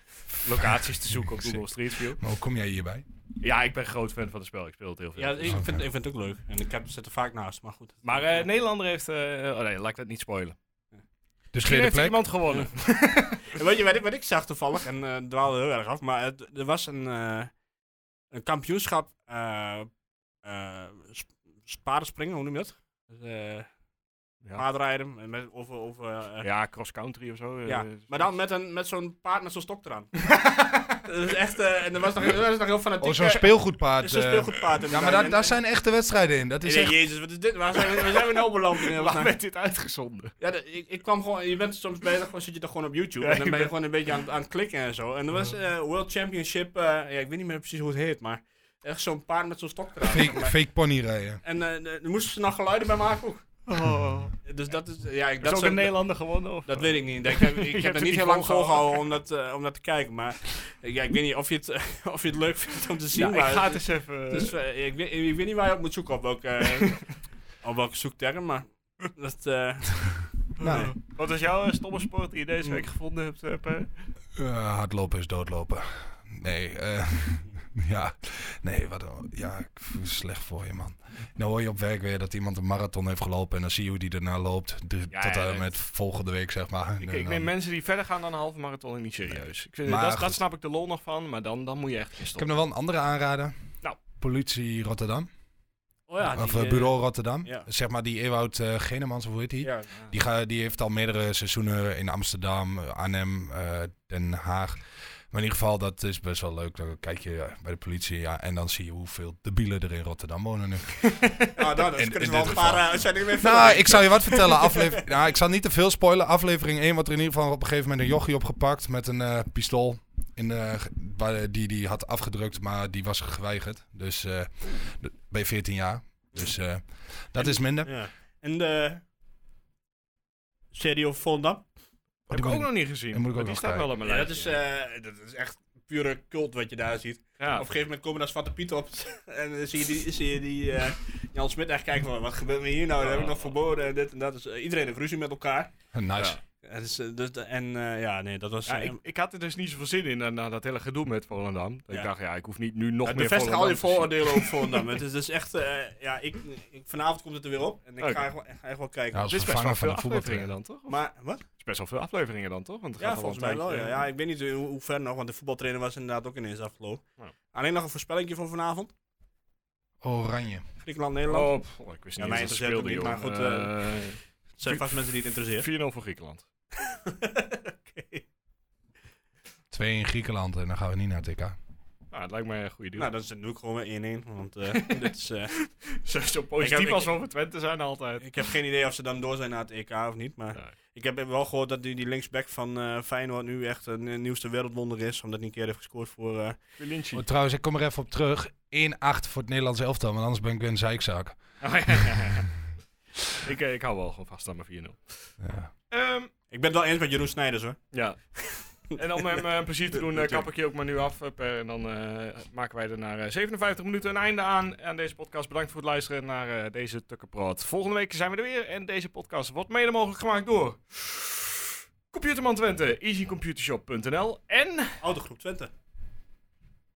S1: Locaties te zoeken op Google Street View.
S2: Maar hoe kom jij hierbij?
S1: Ja, ik ben groot fan van het spel. Ik speel het heel veel.
S4: Ja, ik vind, ik vind het ook leuk. En ik heb, zit er vaak naast, maar goed.
S1: Maar eh, Nederlander heeft... eh, oh nee, laat ik dat niet spoilen.
S2: Dus
S1: Misschien
S2: tweede
S1: heeft
S2: plek?
S1: iemand gewonnen.
S4: En Weet je wat ik, wat ik zag toevallig, en eh dwaalde heel erg af, maar het- er was een, eh, een kampioenschap eh eh, sp- spadenspringen, hoe noem je dat? Dus, eh,
S1: Ja,
S4: Paardrijden, en met, over, over eh,
S1: ja cross-country of zo. eh,
S4: Ja, maar dan met, een- met zo'n paard met zo'n stok eraan. dat is echt, eh, en dat was nog, dat was nog heel fanatiek.
S2: Oh, zo'n
S4: eh,
S2: speelgoedpaard.
S4: zo'n
S2: eh.
S4: speelgoedpaard.
S2: ja, maar daar, daar zijn echte wedstrijden in. Dat
S4: Ik
S2: is
S4: denk,
S2: echt...
S4: jezus, wat is dit? Waar zijn we, waar zijn we nou beland in
S1: Waar
S4: hemelsnaam?
S1: werd dit uitgezonden?
S4: Ja, de- ik, ik kwam gewoon, je bent soms bezig, gewoon zit je er gewoon op YouTube
S1: Ja,
S4: en dan
S1: ik
S4: ben je
S1: ben-
S4: gewoon een beetje aan, aan het klikken en zo. En er was eh, World Championship, eh, ja, ik weet niet meer precies hoe het heet, maar echt zo'n paard met zo'n stok eraan. zeg
S2: Fake,
S4: maar.
S2: fake pony rijden.
S4: En eh, eh, daar moesten ze nog geluiden bij maken ook.
S1: Oh.
S4: Dus dat is, ja, ik,
S1: Is
S4: dat
S1: ook
S4: soort-
S1: een Nederlander gewonnen? Of?
S4: Dat weet ik niet. Ik heb, ik
S1: hebt
S4: heb er
S1: het
S4: niet
S1: niet
S4: heel
S1: volgehouden.
S4: lang volgehouden om dat, eh, om dat te kijken. Maar eh, ja, ik weet niet of je het, eh, of je het leuk vindt om te zien.
S1: Ja, ik
S4: maar
S1: ga het
S4: het-
S1: eens even...
S4: het is, eh, ik, weet, ik weet niet waar je op moet zoeken, op welke, eh, op welke zoekterm. Maar dat, eh,
S2: Nou,
S1: Wat is jouw eh, stomme sport die je deze week gevonden hebt, eh, Per?
S2: eh, hardlopen is doodlopen. Nee, eh, ja, nee, wat een- ja, ik vind het slecht voor je man. Nou hoor je op werk weer dat iemand een marathon heeft gelopen en dan zie je hoe die daarna loopt. Drie-
S1: Ja,
S2: tot
S1: ja,
S2: en
S1: dat-
S2: met volgende week zeg maar.
S1: Ik,
S4: nou
S2: En
S1: ik
S2: dan-
S1: neem mensen die verder gaan dan een halve marathon niet serieus. Ik vind,
S2: Maar
S1: dat,
S2: goed.
S1: dat snap ik de lol nog van, maar dan, dan moet je echt geen
S2: ik heb
S1: stoppen.
S2: nog wel een andere aanrader.
S1: Nou.
S2: Politie Rotterdam.
S4: Oh ja,
S2: of
S4: die,
S2: eh,
S4: eh,
S2: Bureau Rotterdam.
S4: ja.
S2: Zeg maar die Ewout eh, Genemans, of hoe heet die?
S4: Ja,
S2: Die, ga, die heeft al meerdere seizoenen in Amsterdam, eh, Arnhem, eh, Den Haag. Maar in ieder geval, dat is best wel leuk. Dan kijk je eh, bij de politie ja, en dan zie je hoeveel debielen er in Rotterdam wonen nu.
S4: ja nou, dat
S2: In-
S4: kunnen
S2: in
S4: ze wel
S2: dit
S4: een paar
S2: geval.
S4: eh, uitzendingen mee
S2: Nou,
S4: vullen.
S2: ik zal je wat vertellen. Aflever... nou, ik zal niet te veel spoilen. Aflevering 1 wordt er in ieder geval op een gegeven moment een jochie opgepakt met een eh, pistool. In, eh, ge- waar- die die had afgedrukt, maar die was geweigerd. Dus eh, d- bij 14 jaar. Dus eh, dat is minder.
S4: Ja. En de serie over Volendam? Oh,
S1: heb ik
S2: moet
S1: ook
S2: ik-
S1: nog niet gezien.
S2: die moet ik
S1: maar
S2: ook
S1: die
S2: nog
S1: staat wel op mijn
S4: Ja, dat,
S1: lijst.
S4: is, eh, dat is echt pure cult wat je daar ziet. Op een gegeven moment komen daar Zwarte Piet op en dan zie je die, zie je die eh, Jan Smit echt kijken van, wat gebeurt er hier nou? Dat heb ik nog verboden en dit en dat. Dus, eh, iedereen heeft ruzie met elkaar.
S2: Nice.
S1: Ja.
S4: En, dus, eh, dus, en eh, ja, nee, dat was...
S1: Ja,
S4: eh,
S1: ik, ik had er dus niet zoveel zin in na, na dat hele gedoe met Volendam. Dat Ik
S4: Ja.
S1: dacht, ja, ik hoef niet nu nog
S4: Het
S1: meer
S4: bevestigt al je
S1: Volendam te
S4: vooroordelen over Volendam. Het is dus echt, eh, ja, ik, ik, vanavond komt het er weer op en ik
S1: Oké.
S4: ga echt, wel- ik ga echt wel kijken.
S2: Ja, Nou, als
S1: zien. Het is best wel
S2: vervanger van
S1: veel
S2: een
S1: afleveringen
S2: voetbaltrainer.
S1: dan, toch?
S4: maar, wat?
S1: Het is best wel veel afleveringen dan, toch? Want het
S4: Ja,
S1: gaat al
S4: volgens
S1: een
S4: mij wel,
S1: tijdje,
S4: ja.
S1: eh,
S4: ja. Ik weet niet hoe, hoe ver nog, want de voetbaltrainer was inderdaad ook ineens afgelopen.
S1: Ja.
S4: Alleen nog een voorspellingje voor vanavond.
S2: Oranje.
S4: Griekenland-Nederland.
S1: Oh, pff, ik wist
S4: Ja,
S1: niet
S4: mij
S1: eens dat ze
S4: interesseert het
S1: speelden,
S4: niet,
S1: joh.
S4: maar goed, Het zijn vast mensen die
S1: Eh,
S4: het interesseert.
S1: 4-0 voor Griekenland.
S4: Oké.
S2: Twee in Griekenland en dan gaan we niet naar TK.
S1: Nou, het lijkt mij een goede deal.
S4: Nou, dan is het nu ook gewoon weer 1-1. Want eh, dit is, eh,
S1: zo, zo
S4: Ik
S1: positief
S4: heb- ik-
S1: als we over Twente zijn altijd.
S4: ik heb geen idee of ze dan door zijn naar het EK of niet. Maar
S1: Nee.
S4: ik heb wel gehoord dat die, die linksback van eh, Feyenoord nu echt een, een nieuwste wereldwonder is. Omdat hij een keer heeft gescoord voor... eh
S1: Quilinci.
S2: Oh, trouwens, ik kom er even op terug. 1-8 voor het Nederlands elftal, want anders ben ik weer een zeikzaak.
S1: Oh, ja, ja, ja. ik, eh, ik hou wel gewoon vast aan mijn 4-0.
S2: Ja.
S1: Ehm,
S4: ik ben het wel eens met Jeroen Snijders hoor.
S1: ja. En om hem eh, plezier te doen, eh, kap ik je ook maar nu af. eh, Per. En dan eh, maken wij er naar eh, 57 minuten een einde aan. Aan deze podcast bedankt voor het luisteren naar eh, deze Tukkenproot. Volgende week zijn we er weer. En deze podcast wordt mede mogelijk gemaakt door... Computerman Twente, easycomputershop.nl en...
S4: Oude groep Twente.